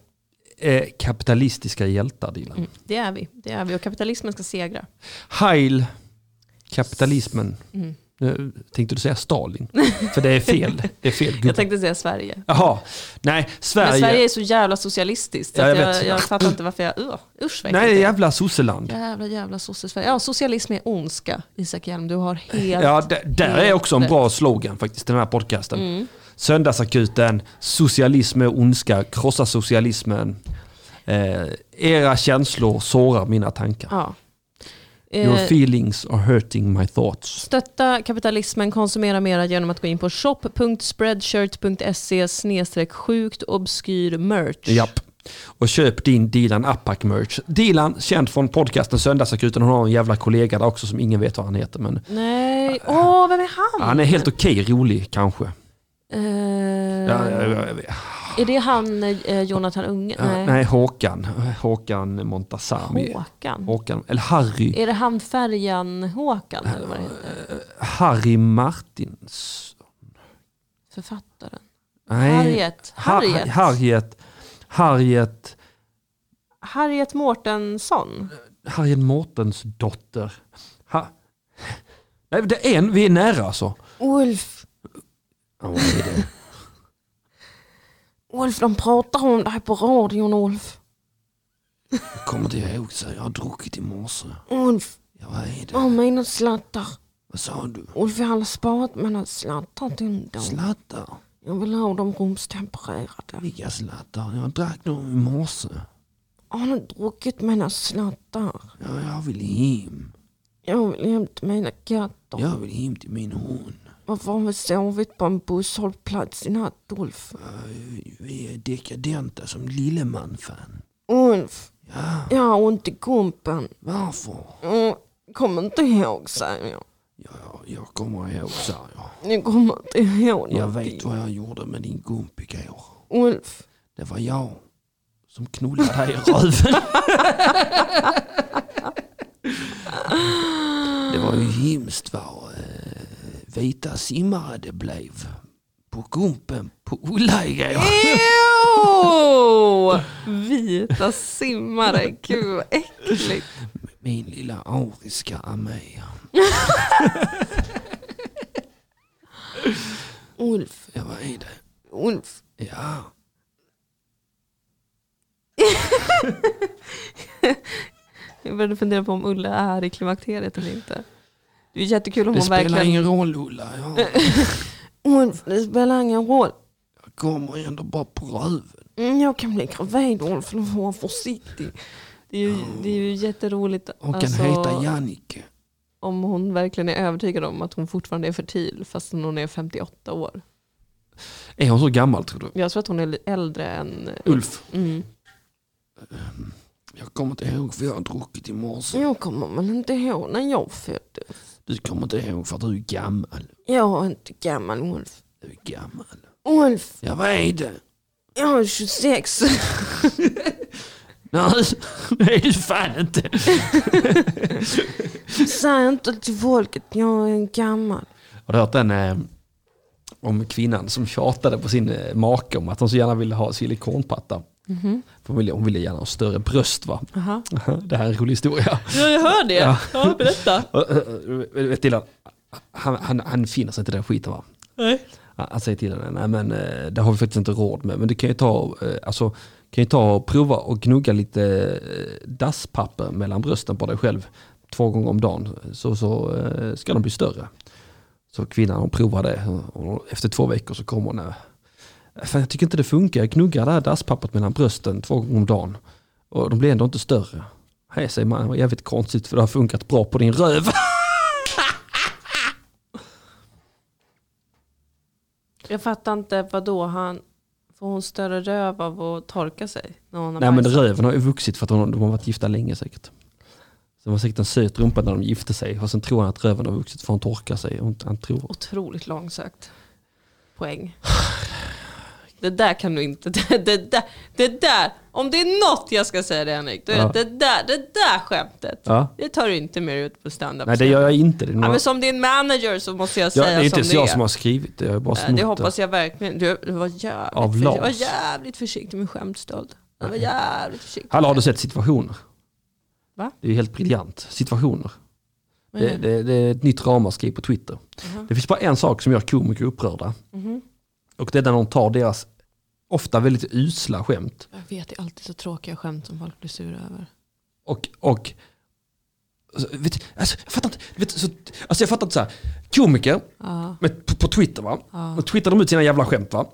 är kapitalistiska hjältar Dilan. Det är vi, det är vi och kapitalismen ska segra. Heil kapitalismen. Mm. Nu tänkte du säga Stalin? För det är fel. Det är fel Jag gubbe. tänkte säga Sverige. Jaha, nej, Sverige. Men Sverige är så jävla socialistiskt så Ja, jag, jag jag, jag, vet. fattar inte varför jag... Uh, usch vad Nej, äckligt det är. jävla sosseland. Jävla jävla sosse-Sverige. Ja, socialism är ondska, Isak Hjelm. Du har helt... Ja, d- där är också en rätt. bra slogan faktiskt, den här podcasten. Mm. Söndagsakuten, socialism är ondska, krossa socialismen. Eh, era känslor sårar mina tankar. Ja. Your Eh, feelings are hurting my thoughts. Stötta kapitalismen, konsumera mera genom att gå in på shop.spreadshirt.se snedstreck sjukt obskyr merch. Japp. Och köp din Dilan Apak merch. Dilan, känd från podcasten Söndagsakuten, hon har en jävla kollega där också som ingen vet vad han heter. Men Nej, åh vem är han? han är helt okej rolig kanske. Eh, Ja, ja, ja, jag vet. Är det han eh, Jonathan Unge? Ja, nej, Håkan. Håkan Montazami. Håkan. Håkan, eller Harry. Är det han Färjan-Håkan eller vad det heter? Harry Martins. Författaren? Nej. Harriet. Har- Harriet. Harriet. Harriet. Harriet Mårtensson? Harriet Mårtens dotter. Ha- Nej, det är en. Vi är nära alltså. Ulf, Ja, vad är det? Ulf de pratar om dig på radion Ulf. Jag kommer inte ihåg. Så jag har druckit i morse. Ulf, Ja, vad är det? vad mina slattar? Vad sa du? Ulf, jag har sparat mina slattar till dem. Slattar? Jag vill ha dem rumstempererade. Vilka slattar? Jag drack dem i morse. Har du druckit mina slattar? Ja, jag vill hem. Jag vill hem till mina katter. Jag vill hem till min hund. Varför har vi sovit på en busshållplats i natt Ulf? Vi är dekadenta som Lilleman-fan. Ulf, jag har ont i kumpen. Varför? Mm, Kommer inte ihåg säger jag. Ja, jag kommer ihåg, sa jag. Jag kommer inte ihåg Jag någonting. vet vad jag gjorde med din gump igår. Ulf, Det var jag som knullade dig i röven. Det var ju hemskt vad eh, vita simmare det blev. På gumpen på Ulla igår. Ew! Vita simmare, gud vad äckligt. Min lilla ariska armé. Ulf, Ja, vad är det? Ulf. Ja. Jag började fundera på om Ulla är i klimakteriet eller inte. Det är jättekul om Det hon spelar verkligen... ingen roll Ulla. Jag, Ulf, det spelar ingen roll. jag kommer ändå bara på röven. Mm, jag kan bli gravid Ulf, du får vara försiktig. Det är ju, det är ju jätteroligt. Hon kan alltså, heta Jannike. om hon verkligen är övertygad om att hon fortfarande är fertil fast hon är 58 år. Är hon så gammal tror du? Jag tror att hon är li- äldre än... Ulf? Mm. Jag kommer inte ihåg för jag har druckit i morse. Jag kommer väl inte ihåg när jag föddes. Du kommer inte ihåg för att du är gammal. Jag är inte gammal Ulf. Du är gammal. Ulf, Jag vet det. jag är 26. Nej, det är du fan inte. Säg inte till folk att jag är gammal. Har du hört den eh, om kvinnan som tjatade på sin eh, make om att hon så gärna ville ha silikonpatta? För hon, ville, hon ville gärna ha större bröst va? Aha. Det här är en rolig historia. Ja, jag hör det. Ja. Ja, berätta. Och, eh, eh, vet Dylan, han, han, han finner sig inte i den skiten va? Nej. Han han säger till henne, nej men eh, det har vi faktiskt inte råd med, men du kan ju ta, eh, alltså, kan ju ta och prova och gnugga lite eh, dasspapper mellan brösten på dig själv två gånger om dagen, så, så eh, ska de bli större. Så kvinnan hon provar det och efter två veckor så kommer hon, eh, fan jag tycker inte det funkar, jag gnuggar det här dasspappret mellan brösten två gånger om dagen och de blir ändå inte större. Hej säger man, vad jävligt konstigt för det har funkat bra på din röv. Jag fattar inte vad då han... Får hon större röv av att torka sig? När hon har Nej men bajsat? röven har ju vuxit för att hon, de har varit gifta länge säkert. Så de har säkert en söt rumpa när de gifte sig och sen tror han att röven har vuxit för hon torkar sig. Hon, han tror. Otroligt långsökt. Poäng. Det där kan du inte... Det, det, där, det där! Om det är något jag ska säga det Henrik, då är det Ja. att det där, det där skämtet. Ja. Det tar du inte mer ut på standup. Nej det gör jag inte. Det är, några, ja, men som din manager så måste jag ja, säga det är inte som ens det är. jag som har skrivit det, jag har bara Eh, snott Det hoppas jag verkligen. Du, du var jävligt, Av försi- jag var Lars. jävligt försiktig med skämtstöld. Du var jävligt försiktig. Hallå har du sett situationer? Va? Det är ju helt briljant. Situationer. Vad är Mhm. Det, det, det är ett nytt ramaskri på Twitter. Det finns bara en sak som gör komiker upprörda. Och det är när någon tar deras ofta väldigt usla skämt Jag vet, det är alltid så tråkiga skämt som folk blir sura över. Och, och alltså, vet, du, alltså, jag fattar inte, vet, du, så, alltså, jag fattar inte så här. komiker med, på, på Twitter va, och twittrar de ut sina jävla skämt va.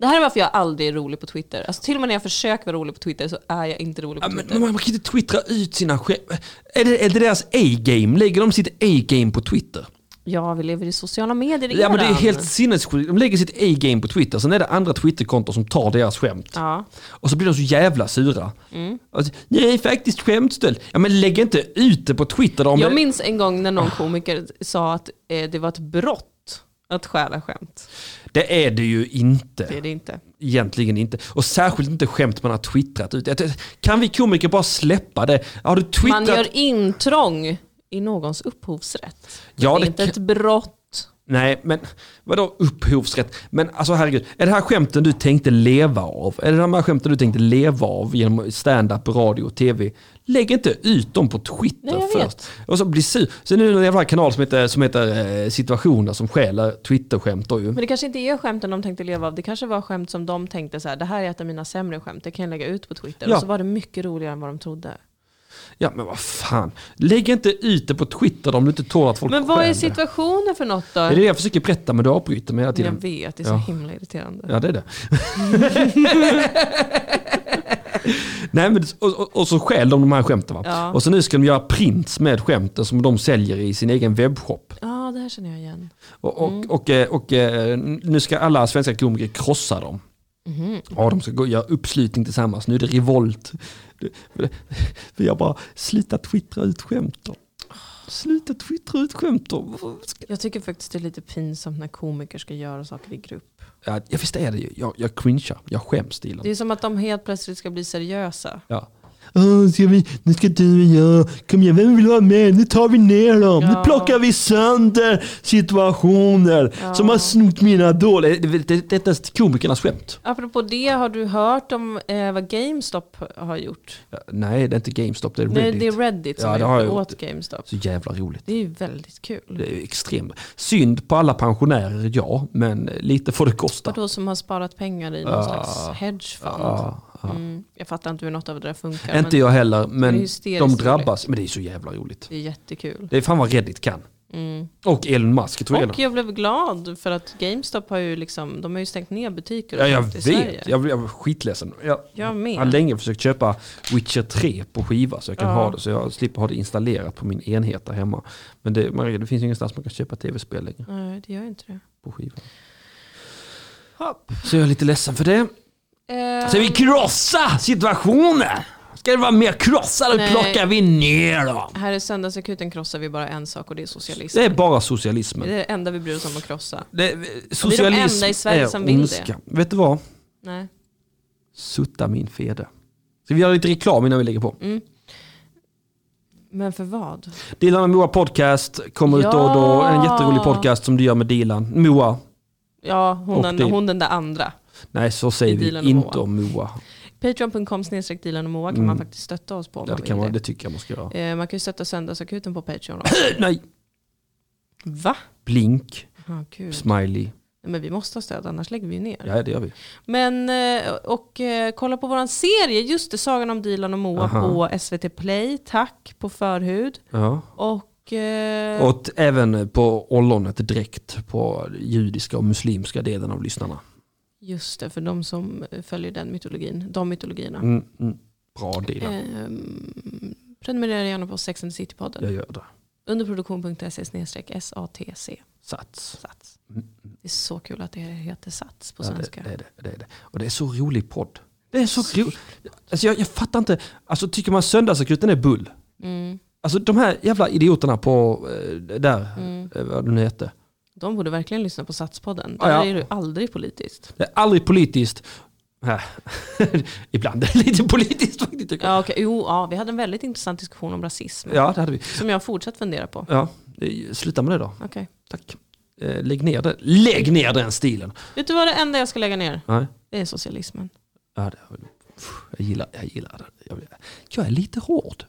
Det här är varför jag aldrig är rolig på Twitter. Alltså, till och med när jag försöker vara rolig på Twitter så är jag inte rolig på Ja, men, Twitter. man, man kan ju inte twittra ut sina skämt. Är det, är det deras A-game? Lägger de sitt A-game på Twitter? Ja, vi lever i sociala medier Ja men det är redan. helt sinnessjukt. De lägger sitt A-game på Twitter, sen är det andra Twitterkonton som tar deras skämt. Ja. Mm. Och så blir de så jävla sura. Alltså, nej, faktiskt skämtstöld. Ja men lägg inte ut det på Twitter då. om Jag det- Ah. minns en gång när någon komiker sa att eh, det var ett brott att stjäla skämt. Det är det ju inte. Det är det inte. Egentligen inte. Och särskilt inte skämt man har twittrat ut. Jag tänkte, Kan vi komiker bara släppa det? Har du Man twittrat? gör intrång i någons upphovsrätt. Ja, det det är inte kan- ett brott. Nej, men vadå upphovsrätt? Men alltså herregud, är det här skämten du tänkte leva av? Är det de här skämten du tänkte leva av genom stand-up, radio och tv? Lägg inte ut dem på Twitter Nej, jag först. Och så bli sur. Sen är det en jävla kanal som heter, som heter eh, situationer som stjäler Twitter-skämt då ju. Men det kanske inte är skämten de tänkte leva av. Det kanske var skämt som de tänkte så här, det här är ett av mina sämre skämt, det kan jag lägga ut på Twitter. Ja. Och så var det mycket roligare än vad de trodde. Ja men vad fan. Lägg inte ut det på Twitter då om du inte tål att folk Men vad är stjäl det. situationen för något då? Det är det jag försöker berätta men du avbryter mig hela jag tiden. vet, det är så Ja. himla irriterande. Ja, det är det. Nej, men, och, och, och så stjäl de de här skämten. Va? Ja. Och så nu ska de göra prints med skämten som de säljer i sin egen webbshop. Ja, det här känner jag igen. Och, och, och, eh, och, eh, nu ska alla svenska komiker krossa dem. Ja, de ska gå, göra uppslutning tillsammans. Nu är det revolt. Vi har bara, sluta twittra ut skämt då. Sluta twittra ut skämt då. Jag tycker faktiskt det är lite pinsamt när komiker ska göra saker i grupp. Ja, jag visst är det ju. Jag, jag cringear. Jag skäms, Dilan. Det är som att de helt plötsligt ska bli seriösa. Ja. Åh, Oh, ska vi, nu ska du och jag, kom igen, vem vill vara med? Nu tar vi ner dem, Ja. nu plockar vi sönder situationer som har snott mina dåliga... Det, det, det är ens komikernas skämt. Apropå det, har du hört om eh, vad GameStop har gjort? Ja, nej, det är inte GameStop, det är Reddit. Nej, det är Reddit som Ja, har det gjort har jag det åt GameStop. Så jävla roligt. Det är ju väldigt kul. Det är extremt. Synd på alla pensionärer, ja, men lite får det kosta. Vadå som har sparat pengar Ah. i någon slags hedgefond? Ja, Mm, jag fattar inte hur något av det där funkar. Ah. inte men jag heller, Det är men hysteriskt de roligt. drabbas. Men det är så jävla roligt. Det är jättekul. Mm. Det är fan vad Reddit kan. Och Elon Musk tog Och jag jag blev glad för att GameStop har ju liksom, de har ju stängt ner butiker Ja, och jag sånt i vet. Sverige. Jag, blev- jag var skitledsen. Jag, Jag Jag har med. länge försökt köpa Witcher 3 på skiva så jag kan Ja. ha det. Så jag slipper ha det installerat på min enhet där hemma. Men det, Maria, det finns ju ingenstans man kan köpa tv-spel längre Nej, det gör ju inte det. på skiva. Hopp. Så jag är lite ledsen för det. Eh, Ska vi krossa situationen? Ska det vara mer krossa eller Nej. plockar vi ner dem? här i söndagsakuten krossar vi bara en sak och det är socialism. Det är bara Det är socialismen. det enda vi bryr oss om att krossa. Det, eh, socialism enda i Sverige är som vill det. ondska. Vet du vad? Nej. Sutta min fede. Ska vi göra lite reklam innan vi lägger på? Mm. Men för vad? Dilan och Moa podcast kommer ut då och då. Ja. En jätterolig podcast som du gör med Dilan. Moa, Ja, hon, Och den, det- hon den där andra. Nej, så säger I vi Dilan och inte Moa. om Moa. Patreon.com snedstreck Dilan och Moa kan man faktiskt stötta oss på om Mm. Ja, man det, vill kan man, det. det tycker jag man ska göra. Eh, Eh, man kan ju stötta söndagsakuten på Patreon. Nej! Va? Blink, Ah, gud. smiley. Nej, Men vi måste ha stöd annars lägger vi ju ner. Ja, det gör vi. Men, eh, och eh, kolla på våran serie, just det, Sagan om Dilan och Moa Aha. på SVT Play, tack, på förhud. Ja. Och, eh, Och t- även på ollonet direkt på judiska och muslimska delen av lyssnarna. just det, för de som följer den mytologin, de mytologierna. Mm, mm. Bra Eh. Dilan, Ehm, prenumerera gärna på Sex and the City-podden. jag gör det. Underproduktion.se SATC. Sats. Sats. Det är så kul att det heter Sats på Mm, Ja, det, svenska. det, är det, det är det. Och det är så rolig podd. Det är så roligt. Alltså jag, jag fattar inte. Alltså tycker man söndagsakuten är bull? Mm. Alltså de här jävla idioterna på eh, där, Mm. eh, vad de nu hette. De borde verkligen lyssna på Satspodden. Ja, Där ja. är det aldrig politiskt. Det är aldrig politiskt. Äh, Ibland är det lite politiskt faktiskt. tycker jag. Ja, okej. Jo, ja, vi hade en väldigt intressant diskussion om rasism. Ja, det hade vi. Som jag har fortsatt fundera på. Ja, eh, sluta med det då. Okej. Tack. Eh, Lägg ner den. Lägg ner den stilen. Vet du vad det enda jag ska lägga ner? Nej. Det är socialismen. Ja, det, pff, jag gillar, jag gillar det. Jag, blir- jag är lite hård.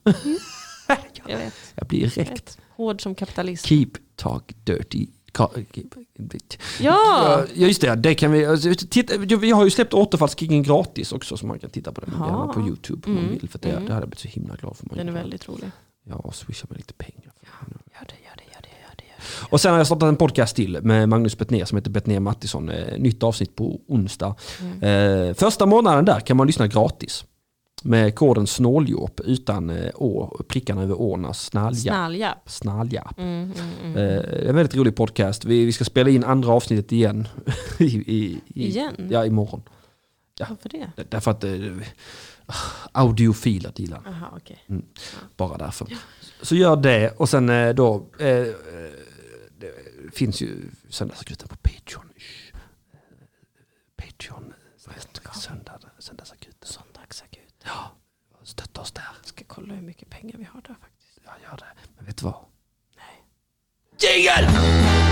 Jag vet. Jag blir direkt. vet. Hård som kapitalist. Keep talk dirty. Ka- keep- Ja! Ja, just det. det kan vi, alltså, titta, vi har ju släppt återfallskrigen gratis också så man kan titta på den Ja. gärna på YouTube om man vill. För det, Mm. det hade jag blivit så himla glad för. om man Den är gjorde. väldigt rolig. Ja, swisha mig lite pengar. Gör det, gör det, gör det, gör det. Gör det. Och sen har jag startat en podcast till med Magnus Bettner som heter Bettner Mattisson. Eh, Nytt avsnitt på onsdag. Mm. Eh, första månaden där kan man lyssna gratis. Med koden snåljåp utan eh, å, prickarna över åna. Snalljapp. Snalljapp. Snalljapp. Mm, mm, mm. Eh, det är en väldigt rolig podcast. Vi, vi ska spela in andra avsnittet igen. I, i, i, Igen? Ja, imorgon. Varför det? D- Därför att eh, audiofila Dilan. Jaha, okej. Bara därför. Så gör det och sen eh, då eh, eh, det finns ju söndagsakuten på Patreon. Shh. Eh, Patreon. eh, Söndag, söndagsakuten. Söndagsakut. Stötta oss där. Ska kolla hur mycket pengar vi har där faktiskt. Ja, gör det. Men vet du vad? Nej. Jingel!